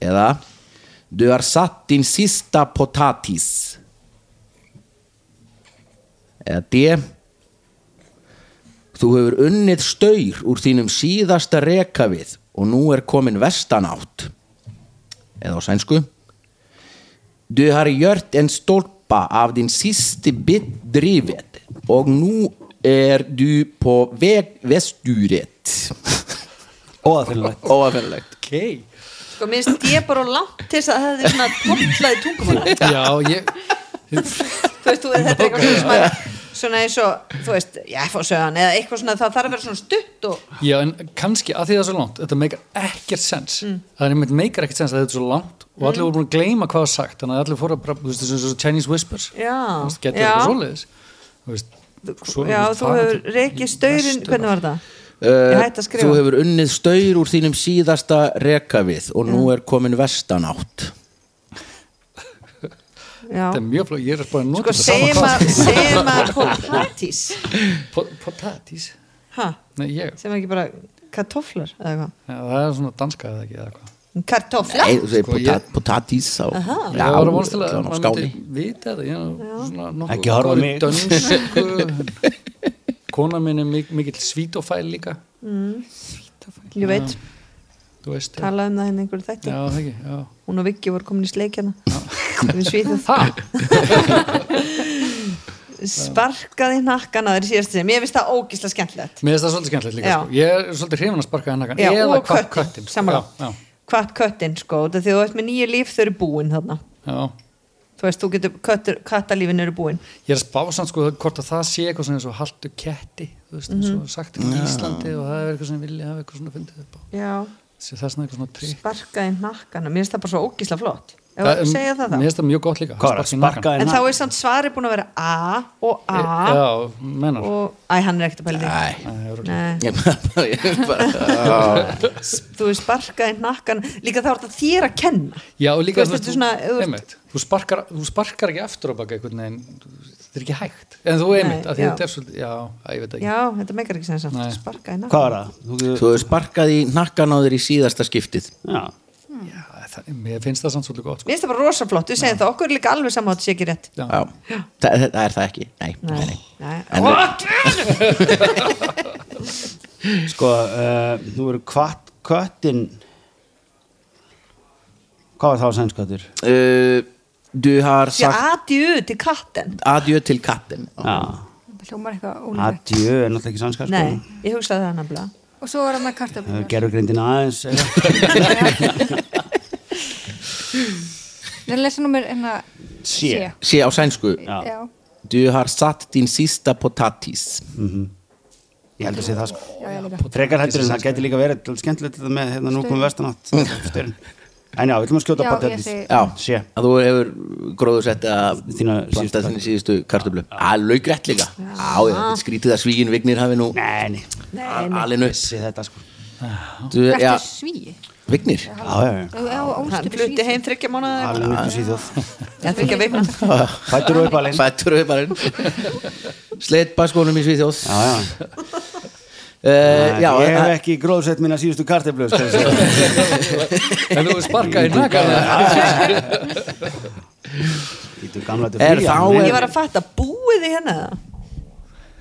eða Du har satt din sista potatis eða D Þú hefur unnið staur úr þínum síðasta rekavið og nú er komin vestanátt eða á sænsku Du har gjort en stolpa af din siste bit drivet og nú er du på veg vesturet
Óaðfinnilegt
Óafinnlegt
okay.
sko, minnst ég bara of langt til þess að það er svona toplaði tungumála
já, ég,
þú veist, þú, þetta er eitthvað svona sem að- svona eins og, þú veist, ég fór sögðan eða eitthvað svona, það þarf að vera svona stutt og
já, en kannski að því það er svo langt þetta meikar ekkert sens
Mm.
það er einmitt meikar ekkert sens að þetta er svo langt og allir voru búin að gleyma hvað var sagt þannig að allir fóru að, bara, þú veist, þessu svo Chinese whispers
Já.
Þú veist, getur
Já.
eitthvað svoleiðis Þú veist, svo-
já,
veist,
þú
það-
hefur reikið staurinn hvernig var það?
Uh,
Ég hætti að skrifa.
Þú hefur unnið staur úr þínum síðasta rekavið og nú er komin vestanátt
já,
þetta er mjög flóð, ég er bara að
sko,
nota
segjum að segjum að potatis
Pot- potatis
ha,
Nei, ég,
sem ekki bara kartoflar eða hvað,
Já, það er svona danska eða ekki eða hvað
kartoflar
Nei, þú segir
Sko, ég-
potat, potatís á, já,
Ég var að vonast til
allan
að
á
maður
skáni
myndi vita þetta ég er nú svona nokkuð
Ekki horfa á
góður í
mig.
dönsku. Kona mín er mik mikill svítofæl líka
ég veit,
Þú veist Já,
talaði um það henni einhverju þætti
það ekki, já
hún og hérna. Viggi voru komin í sleikjana við svíðum
Það?
sparkaði nakkan að þeir síðast sem ég finnst það ógislega skemmtilegt
Mér finnst það svolítið skemmtilegt líka
Já.
sko. Ég er svolítið hrifun að sparka hann hakan
já,
Eða
og
kvart
köttin,
köttin sko.
samanlega
Já, já,
kvart köttin sko, út af því þú veist með nýju líf þau eru búin þarna
já.
þú veist, þú getur, köttur, kattalífin eru búin
Ég er að spá samt sko hvort að það sé eitthvað svona eins og haltu ketti þú veist, eins
Mhm.
og sagt í Íslandi og það er eitthvað sem vilja hafa eitthvað svona fundið upp á
já,
Sé það svona eitthvað svona trikk
sparkaði nakkan mér finnst það bara svo ógislega flott ef
Það
að
er-
segja það
Mér
það
finnst það mjög gott líka
Hvað er að
sparka í
sparka
nakann.
en
þér
þá
nakan?
er samt svari búin að vera a og a
Já, mennar
og, æ, hann er ekkert að pæli því
Æ,
Eh, Nei.
ég bara, ég bara
þú veist, sparkaði nakkan líka þá er þetta þér að kenna
Já, og
Þú
líka
veist, þetta er svona, þú veist-
einmitt, þú, sparkar, þú sparkar ekki aftur á baka einhvern veginn, þetta er ekki hægt en þú einmitt,
Nei,
að því
já.
þetta er svolítið já, að, ég veit ekki,
já, þetta meikar ekki sem
Nei.
samt sparkaði nakkan
Hvað er það? Þú getur-
Þú hefur sparkað í nakkan á þér í síðasta skiptið
Já,
já, það, mér finnst það samt svolítið gott sko.
mér finnst það bara rosa flott, við segjum það, okkur er líka alveg saman að þetta sé ekki rétt
já.
Já, Þa, það er það ekki Nei, nei, nei
Nei.
En-
What?
sko, uh, nú eru kvart köttin Hvað var það á sænskvættur?
Uh, Du har
Ég
sagt
aðju til katten
adjö til kattin
Já,
Það hljómar eitthvað ólífætt.
adjö er náttúrulega ekki sænska sko.
Nei, ég hugsaði það nefnilega
Og svo er hann að kartöflur.
Gerfugrindin aðeins eh. eða?
Ég er að lesa nummer hérna
Sé.
Sé á sænsku
Já.
Já.
Du har satt din sísta potatis
Ég held að sé það sko
Já, ég líka.
Frekar hættur en það geti líka verið til skemmtilegt þetta með hérna nú komum vestanátt Styrn En já, við ætlum að skjóta
Já, ég
patatis
segi-
Já,
Sé.
að þú hefur gróðu sett að
Þína
planta
síðustu
þínu síðustu kartöflu að laugrætt líka á, ég, skrítið að svíkin vignir hafi nú
Nei, nei,
alinu
sé þetta sko
Þetta er svíi.
vignir
Já, já, já
Já,
Hann
ólstu
flutti heim þryggja mánuði
Alveg upp í síðuð
Já, þryggja veikna
Fættur og uppalinn
fættur við bara sleitt baskonum í Svíþjóð
Já, já
uh, já,
Ég hef
það-
ekki gróðsett mína síðustu karteflu skal ég segja.
en þú sparka í nakan
Bíddu, gamla, þetta
Er
frí,
þá
alveg.
Ég var að fatta, búið þið hérna það?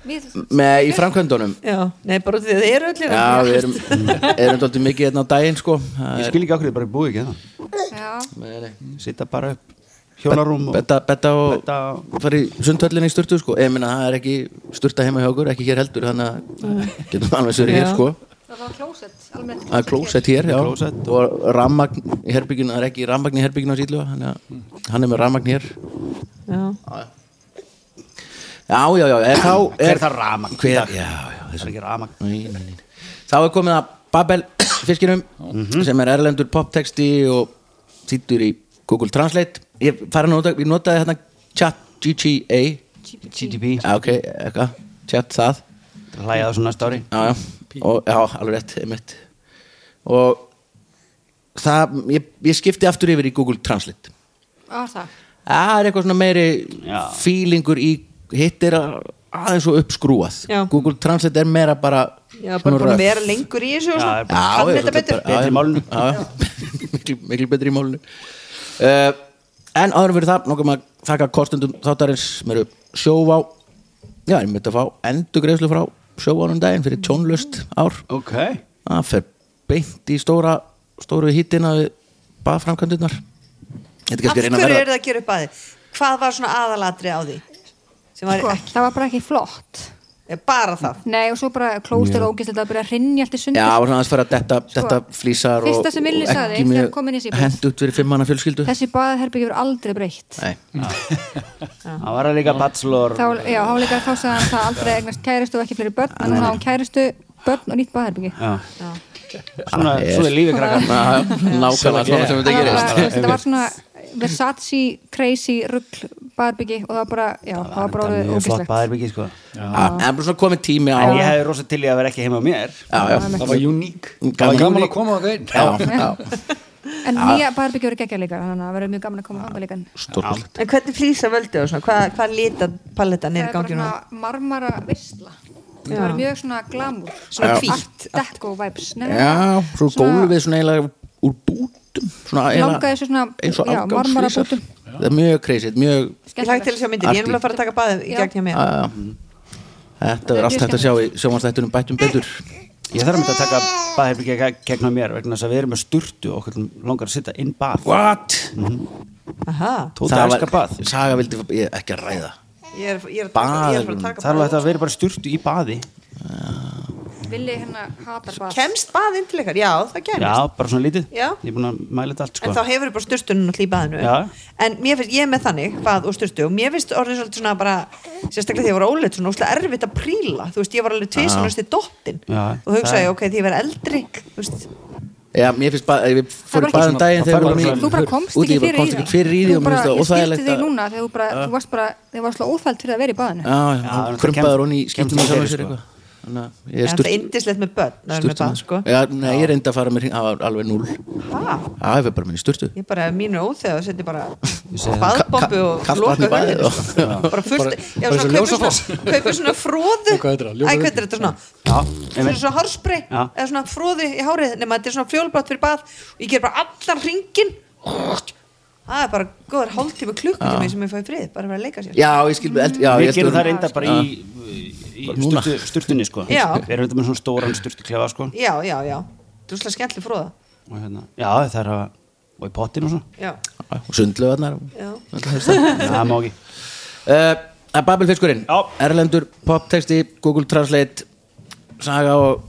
Við,
með í framkvæmdunum
Já, nei, bara út af því að þið eru hérna.
já,
öllir
við erum, erum dálítið mikið hérna á daginn sko Það
Ég
er-
skil ekki okkur, ég bara búi ekki það
já,
Nei, nei.
Sitta bara upp Hjólarúm og
betta, betta og
Betta og-
fara í sundhöllinni í sturtu sko ég meina það er ekki sturta heima hjá okkur ekki hér heldur þannig að getum alveg sér hér
Já.
sko
það var klósett, almennt
Það er klósett hér, já
Klósett.
og rammagn í herbygginu, það er ekki rammagn í herbygginu á síðlu, hann,
Hmm.
hann er með rammagn hér
Já,
Já, já, já, er þá er,
Hver það rafmagn?
Hver, já, já,
Það
þessu
er ekki rafmagn
Nei, nei, nei. Þá er komið að Babel fiskinum
Mhm.
sem er erlendur poptexti og sýttur í Google Translate Ég farið að nota, ég notaði hérna chat GTA
GDP
Já, ok, eitthvað, chat það
Hlæja það svona stóri
Já, já, og, já alveg rétt, einmitt Og það, ég, ég skipti aftur yfir í Google Translate
Á, það.
Það er eitthvað svona meiri
Já.
feelingur í hitt er að- aðeins og uppskrúað
Já.
Google Translate er meira bara
já
svona
bara búin að
röf.
vera lengur í þessu og
Já, er
svona
bara-
Já,
Kann
ég
þetta
svolítið bara-
betur
já,
Betri í
já,
málinu.
já, já. miklu, miklu betri í málinu uh, En áður en fyrir það nokkuð maður þakka kostendum þáttarins sem eru sjóvá Já, ég myndi að fá endugreifslu frá sjóvánum daginn fyrir tjónlust ár
Ok
Það fer beint í stóra stóru hittina við baðframkvæmdurnar Af
Af hverju eru það að gera upp að þið? Hvað var svona aðalatri á því? Sem var
Sko, það var bara ekki flott.
ekki, bara það
Nei, og svo bara klósett er ógist, þetta var að byrja að rinja allt í sundur.
Já, og svona aðeins fara að detta, detta flýsar og,
Sko, fyrsta sem Milli
og
sagði
ekki
þegar
mjög
kom inn í síðbúð.
hent út fyrir fimm manna fjölskyldu
Þessi baðherbyggi verið aldrei breytt.
Nei,
Það var líka bachelor
Þá, já, þá líka þá sagði hann það aldrei eignast kæristu og ekki fleiri börn, en núna á hann kæristu, börn og nýtt baðherbyggi.
Já Svona,
Það er-
svona er lífið krakkar
Já, nákvæmlega svona sem þetta
Það var bara,
gerist
þú veist, þetta var svona Versace, crazy, rugl, baðherbyggi og það var bara, já, það var bara orðið
mjög flott
ógislegt.
baðherbyggi sko
Já, En bara svona komið tími á
En ég hefði rosa til í að vera ekki heima á mér
Já, já,
það var uník, það
Gaman.
var gaman að koma á einn
já, já,
En
Ah.
nýja baðherbyggi verið geggja líka, þannig að það verður mjög gaman að koma þangað líka.
Sko,
stórkvæmt
En hvernig flýsa völdu og svona? Hvað, hvað lita palettan er
Það
í
er bara
gangi núna?
svona marmara veistla. Það
Já.
var mjög svona glamour.
Svona hvítt.
Art deco vibes. Nei,
Já, svo gólfið svona eiginlega úr bútum svona eiginlega-
Langaði þessu svona-
eins og
já,
afgangsfrísar.
marmarabútum.
Það er mjög kreisið, mjög
Ég lag til að sjá myndir, ég er nefnilega að fara að taka baðið í
Já.
gegn hjá mér
uh, Þetta er allt hægt að sjá í sjómanstættunum bættum betur
Ég þarf að mynda að taka baðherbyggja geg- gegn á mér vegna þess að við erum með sturtu og okkur langar að sitta inn bað
What?
Aha,
Tóta elskar bað
Saga vildi ég, ekki að ræða
Ég er, ég er, að taka- ég er að fara að taka
Það er alveg hægt
bað.
að vera bara styrtu í baði
Villi hérna hatar bað
Kemst baðinn til ykkar? Já, það kemst
Já, bara svona lítið
Já.
Ég er búin að mæla þetta allt
En þá
sko
hefur bara styrstunum náttúrulega í baðinu
Já.
En mér finnst, ég er með þannig bað og styrstu og mér finnst orðið svolítið svona bara sérstaklega því ég var óleitt svona óslega erfitt að príla þú veist, ég var alveg tvísan og stið dottin
Já.
og hugsaði, ok, því ég var eldri þú veist,
Já, mér finnst bara, við
var
fórum
ekki-
bara um daginn þegar við
Þú
vorum
bara
í-
komst
úti,
ekki
ég bara
fyrir
komst ekki fyrir í því og
Þú
mér
bara
finnst það
skilti
óþægilegt
þig
að-
núna þegar þú bara, þú varst bara, þið varst alveg óþælt fyrir að vera í baðinu
Já, já,
Já,
hún
þetta
krumpaður
kemst-
hún í
kemst
skýtum í
ekki
sjálf
fyrir,
sér
sko.
eitthvað Þannig að
en
ég
það er
sturt
indislegt með börn það er með bað, sko
Já, nei, ég reyndi að fara mér hring- það var alveg núl Já,
ha,
ég fyrir bara minni sturtu
ég bara, mín er óþegar og setja bara
segi það.
baðbombu og
Kalt vatn í
loka
baðið
höfðinu
og-
sko. bara fullt, já,
bara
svona
eins og
kaupir
ljósafoss.
svona kaupir svona fróðu
Nei, hvað heitir
Æ,
það?
hvað heitir þetta svona
Já,
svona
einmitt.
svona hárspray
Já.
eða svona fróði í hárið nema þetta er svona fjólbrátt fyrir bað og ég ger bara allan ringin það er bara góður hálftíma klukkutíma sem ég fæði frið, bara að vera að leika sér
Já, ég skil með eld Já,
Við
ég
gerum
stur-
það reynda bara í, í
Bara núna.
sturtu, sturtunni sko
Já.
Við erum þetta með svona stóran sturtu sko
já, já, já, þú slá skemmtli fróða
og hérna, Já, það er að Og í pottin og svona
já,
Já, og Sundlaugarnar
já,
Það má ekki
uh, Babelfiskurinn
Já.
Erlendur, poptexti, Google Translate Saga og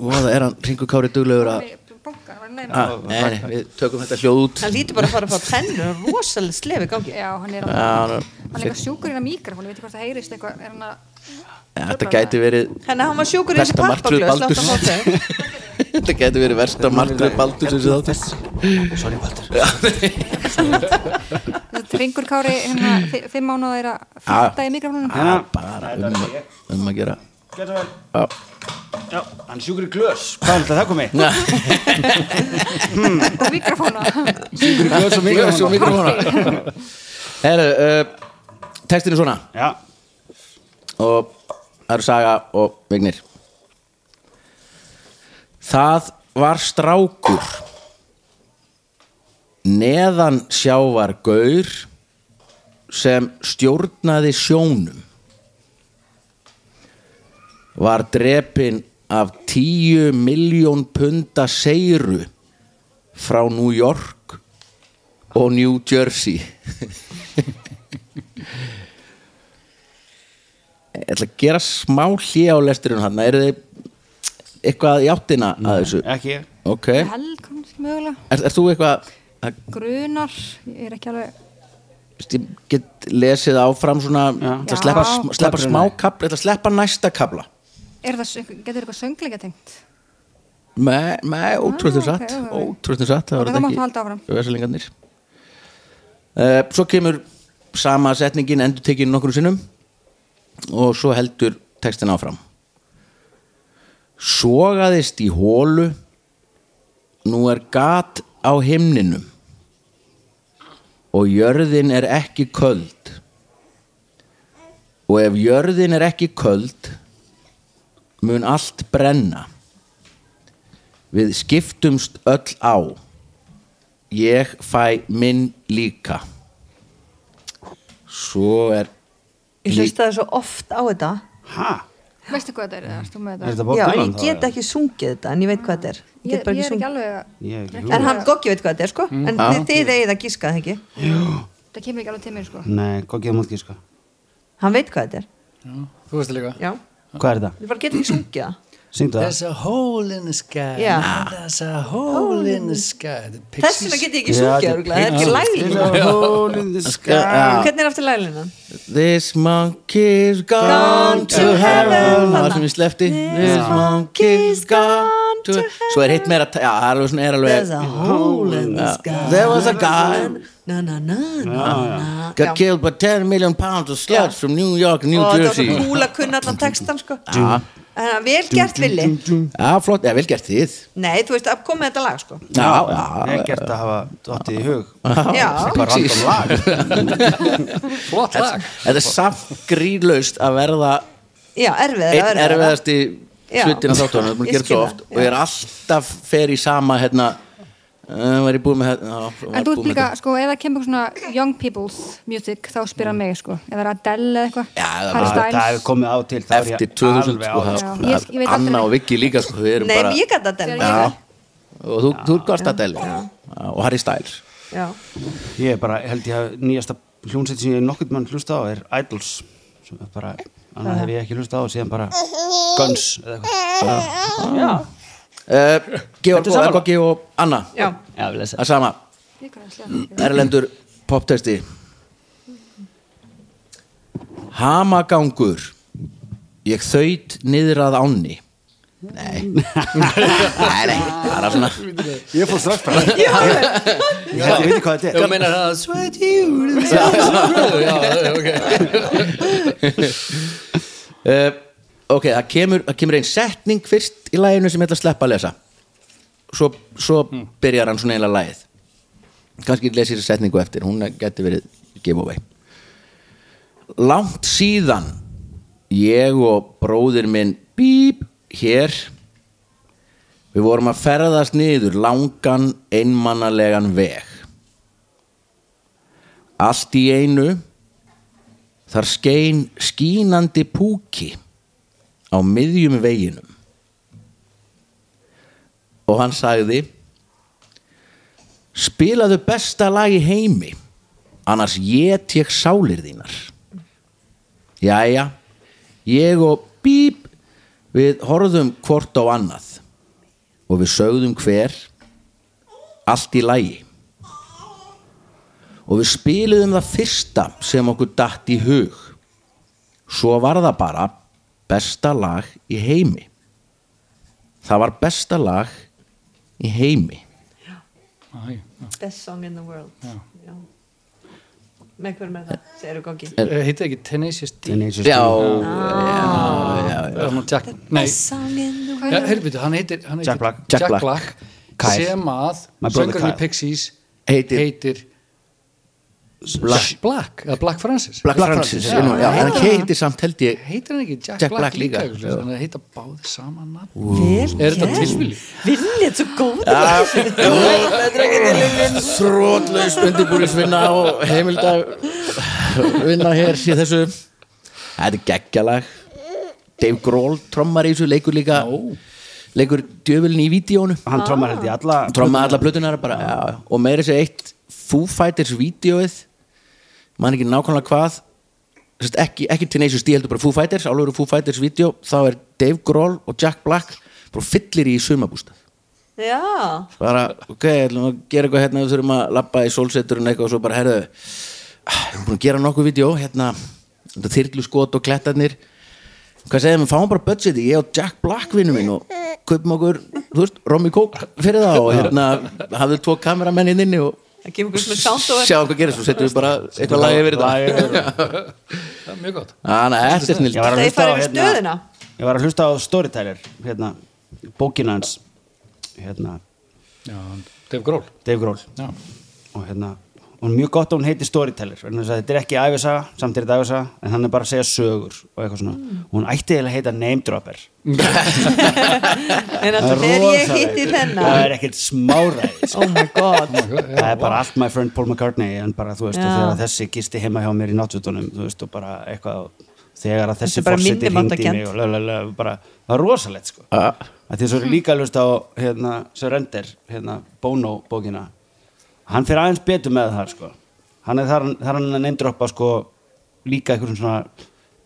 Voða er hann Ringur Kári duglegur að
Bankan var neina
að- Nei, nei, við tökum þetta hljóð út
hann lítur bara að fara að fá tennur rosalega slefi gangi
Já, hann er
Já,
alveg-
hann er-
hann er eitthvað sjúkur inn á mikrofón, ég veit ekki hvort það heyrist eitthvað er hann að
Eh, Þetta gæti verið
þannig að hann var sjúkur í þessi
Versta martröð
pappaglöð
Baldurs Þetta gæti verið versta martröð Baldurs þessi þáttir
Sorry, Baldur
það ringur kári hérna fi- fimm mánuða er að fyrta í mikrofónunum
Hérna,
Bara um, að- um að gera
gæta vel
Já.
Já, hann er sjúkur í glös Hvað er þetta það komi?
Ah.
og mikrofónu
Sjúkur í glös og
Glös og mikrofóna Herru, uh, textin er svona
Já,
og það eru saga og vignir Það var strákur neðan sjávar gaur sem stjórnaði sjónum var drepin af tíu miljón punda seiru frá New York og New Jersey Ég ætla að gera smá hlýja á lesturinn hann eru þið eitthvað í áttina að þessu
ekki ég
ok, er,
held kannski mögulega
er þú eitthvað að,
grunar, ég er ekki alveg
veist, ég get lesið áfram svona,
Já.
ætla að sleppa,
Já.
sm- sleppa smá kapla, ætla að sleppa næsta kapla
er það, sö- getur eitthvað söngleika tengt
með, með ótrúðum
Ah, ok,
satt
ok, ok.
ótrúðum satt, það
Ok,
var
þá
þetta
máttu halda áfram.
ekki veselingarnir uh, svo kemur sama setningin endur tekin nokkru sinnum og svo heldur textin áfram sogaðist í hólu nú er gat á himninum og jörðin er ekki köld og ef jörðin er ekki köld mun allt brenna við skiptumst öll á ég fæ minn líka svo er
ég hlustaði svo oft á þetta
Ha?
veistu hvað þetta er, erstu með
Er
þetta
þetta Bob
já,
Dylan?
ég get ekki sungið þetta en ég veit hvað þetta er Ég
ég,
get bara
ég
ekki
er ekki
sungið.
alveg að
Ég ekki
en hann Goggi veit hvað þetta er sko
Mm.
en þið, þið eigið að giska það ekki
það kemur ekki alveg til mér sko
Nei, hvað sko? geðum út gíska?
hann veit hvað þetta er
Þú veist það líka
já,
Hvað er það?
ég bara get ekki sungið það
Syngdu það?
There's a hole in the sky
Já.
There's a hole in the sky The Pixies.
Þess vegna get ég ekki sungið örugglega, það er ekki læglína
Já.
Hvernig er aftur læglinan?
Ah, This monkey's gone to heaven Það var sem ég sleppti This monkey's gone to heaven Svo er hitt meira Já, það er alveg svona er
There's
alveg
a hole in the
Já.
sky
There was a guy
Na na na na na
Got killed by 10 million pounds of slugs from New York, New
Og það var
Jersey
svo cool að kunna allan textan sko
Já,
Þannig að vel gert villi
Já, flott, eða vel gert þið
Nei, þú veist, að koma með þetta lag sko
Já,
Ég
já
er gert að hafa dottið í hug
Já,
Bara random lag
Flott lag
Þetta er samt gríðlaust að verða
já, erfið
einn erfiðasti
Já.
hlutin að þáttunum það er búin að
Ég
gera svo
skil
oft
það,
og ég er alltaf fer í sama hérna uh, var ég búið með hérna
en þú ert líka, sko, ef það kemur svona young people's music, þá spyrir hann mig sko ef það er Adele eða eitthvað
Mm. Já, það er
Harry
bara-
Það
Styles.
hefur komið á til þá er ég
eftir 2000
alveg
sko,
á-
það-
Já.
það-
Ég- ég veit aldrei
Anna
neitt.
og Viggi líka sko, við erum
Nei,
bara
en ég gæti að dela
já, og þú, þú er gott að dæla og Harry Styles
Já,
Ég er bara, held ég að nýjasta hljónsett sem ég nokkurn mann hlusta á er Idols sem er bara, annað hef ég ekki hlusta á síðan bara Guns eða eitthvað
já,
uh, Georg
Ertu
og
sammála?
Ekoki og Anna
já,
Já, við lesa
það er sama,
Líka
erlendur poptesti Hamagangur ég þaut niður að ánni Nei Nei, nei, það er svona
Ég fór strax bara
Ég held ég veit hvað þetta er
Ég meina það Sweat you Já, já, ok
uh, ok, það kemur, það kemur ein setning fyrst í læginu sem ég ætla að sleppa að lesa svo, svo byrjar hann svona eiginlega lægið kannski lesir þessi setningu eftir hún geti verið giveaway langt síðan ég og bróðir minn bíp hér við vorum að ferðast niður langan einmannalegan veg allt í einu Þar skein skínandi púki á miðjum veginum. Og hann sagði, spilaðu besta lag í heimi, annars get ég sálir þínar. Jæja, ég og bíp, við horfðum hvort á annað og við sögðum hver, allt í lagi og við spiluðum það fyrsta sem okkur datt í hug svo var það bara besta lag í heimi það var besta lag í heimi
Æ,
best song in the world já með hverjum er það, segir þú góki
já. eh, Heitir ekki Tenacious D Ah,
já,
Það er nú Jack Nei,
song in the
ja, heyrðu, hann heitir, hann heitir
Jack Black.
Jack
Jack
Black.
Black
Kyle.
sem að
My brother
söngurinn í
Kyle.
Pixies
Heitir-
heitir Black, Black eða Black Francis
Black Francis já, já, hann heiti samt held ég
heitir hann ekki Jack,
Jack
Black,
Black líka,
líka,
já.
líka þannig að heita báði sama nafn
world
er þetta tilvili?
Villi er svo góð ja.
þrótlaus undirbúrisvinna og heimildag vinna hér í þessu þetta er geggjalag Dave Grohl trommar í þessu leikur líka leikur djöfulinn í vídíónu
Hann trommar held ég alla
tromma alla plötunar bara, já, já. og meira sér eitt Foo Fighters vídeoið mann ekki nákvæmlega hvað Sest, ekki, ekki Tenacious D heldur bara Foo Fighters álöfur Foo Fighters vídeo, þá er Dave Grohl og Jack Black bara fyllir í sumabústað
já,
bara, ok, ætlum að gera eitthvað hérna við þurfum að labba í sólseturinn eitthvað og svo bara, herðu ah, við erum búin að gera nokkuð vídeo, hérna þetta þyrlu skot og klettarnir hvað segðum, við fáum bara budgeti, ég og Jack Black vinnu minn og kaupum okkur þú veist, Romy Coke fyrir það og hérna hafðu tvo kameramenn inn inni og
það kemur hverjum með sound og
sjáum hvað gerist og setjum við bara eitthvað lagi yfir þetta
það er mjög gott
þannig að þetta er snill
Ég var að hlusta á hérna- Ég var
Þeir fara yfir stöðuna.
að hlusta á Storyteller hérna, bókina hans hérna,
já, hann- Dave Grohl
Dave Grohl
já.
og hérna, hún er mjög gott að hún heiti Storyteller vegna þess að þetta er ekki æfisaga, samt er þetta æfisaga en hann er bara að segja sögur og eitthvað svona
Mm.
hún ætti eiginlega að heita Name Dropper
en alltaf þegar ég hitti
það
þennan
er ekkert smáræð sko.
oh my god
það er bara allt my friend Paul McCartney en bara þú veist, og
Já.
þegar þessi gisti heima hjá mér í náttúrunum, þú veist, og bara eitthvað og þegar að
Þetta
þessi
er bara
fórseti hringdi í
minnimatarkennd.
mig og lölulega, bara, það var rosalegt sko
Ah.
að því svo er líka hlust á hérna, Surrender, hérna, Bono bókina, hann fyrir aðeins betur með það sko, hann er þar, þar hann að neymdroppa sko líka einhverjum svona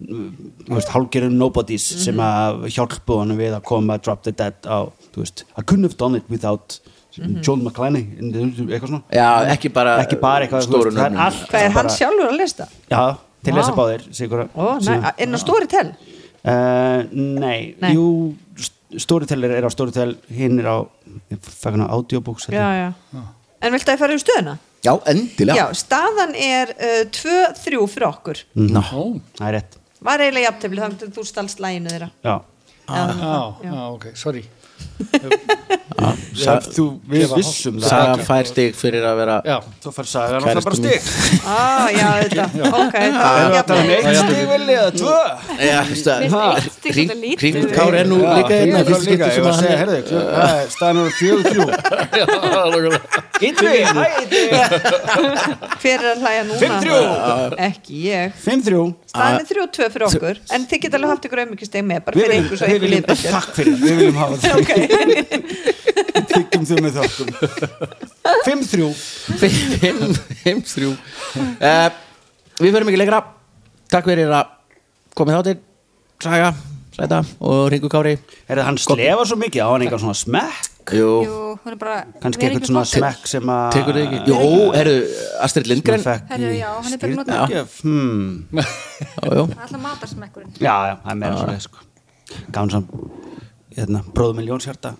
mm, þú veist, hálgerum nobodies
Mhm.
sem að hjálpu honum við að koma að drop the dead á, þú veist, I couldn't have done it without
Mhm.
John McClane eitthvað svona
já, ekki bara,
ekki bara eitthvað þú
stóru
veist, það er
nöfnum
allt
hvað er hann
bara-
sjálfur að lista?
já, til
Vá.
þess að báðir sigur
Ó, næ, inn á Storytel
Uh, nei,
Nei.
jú Storyteller er á Storytel hinn er á, ég fæk hann á audiobooks held ég.
já. en viltu að ég fara yfir stöðuna?
já, endilega
já, staðan er uh, 2-3 fyrir okkur
Mm.
Ná.
það er rétt
var eiginlega jafntefli þannig að þú stalst læginu þeirra
já.
já, já, ok, sorry
Sa, þú, við vissum
Saga fær stig fyrir að vera
já,
þú fær sagan og
Kærastu
það bara stig
ah, já, þetta, ok
það er þetta
jafntefli.
með eitt stig vel eða tvö
Já, veist það,
Mér finnst ekki þetta lítið.
Hringur Kár er nú líka
hérna
hérna fyrst
líka,
skipti
ég
sem
var að
að
segja,
hann er
herðu það er- staðan er fjögur þrjú
já, nákvæmlega.
Ytvi, hæ Ytvi
hver er að hlæja núna?
5-3.
ekki ég
Fimm þrjú
staðan er 3-2 fyrir okkur en þið geta alveg haft ykkur auðmyggjasteg með bara
Við
fyrir
viljum,
ykkur svo
við viljum,
ykkur liðbættir
takk fyrir, við viljum hafa það
ok,
Þykkum þau með þokkum Fimm þrjú
Fimm, fimm, þrjú uh, við verum ekki lengra Takk fyrir að komið þáttir Saga, Sæta og Ringu Kári
Er það hann slefa svo mikið á hann eitthvað svona smekk?
Jú,
Jú, hún er bara
Kannski eitthvað svona smekk sem að
tekur þið ekki Jú, herru, Astrid Lindgren Já,
Fekk
Herru,
í
já, hann er bara
stýrn-
notað.
Gjöf, hmm.
jú
Alltaf matarsmekkurinn
Já, já, það er meira svo leið sko. Gáðum svo hérna, Bróðum með ljónshjarta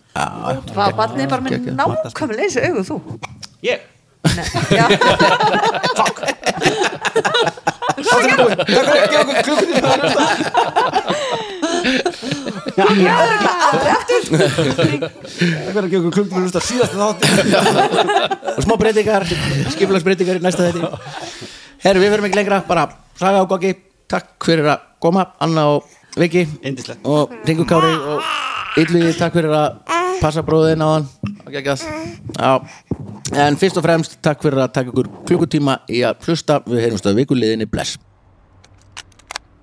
Hvað, barnið er bara með nákvæmlega þessu augu þú
Ég
Nei, já,
Það verður ekki okkur klumpur að hlusta síðast þátti
Og smá breytingar, skipulagsbreytingar í næsta þetti Herru, við verum ekki lengra Bara Saga og Gogi Takk fyrir að koma, Anna og Viki
Yndislegt.
Og Ringu Kári og Yllugi, takk fyrir að passa bróðin á hann Og geggjað. Já, en fyrst og fremst Takk fyrir að taka ykkur klukkutíma í að hlusta Við heyrumst að vikuliðinni bless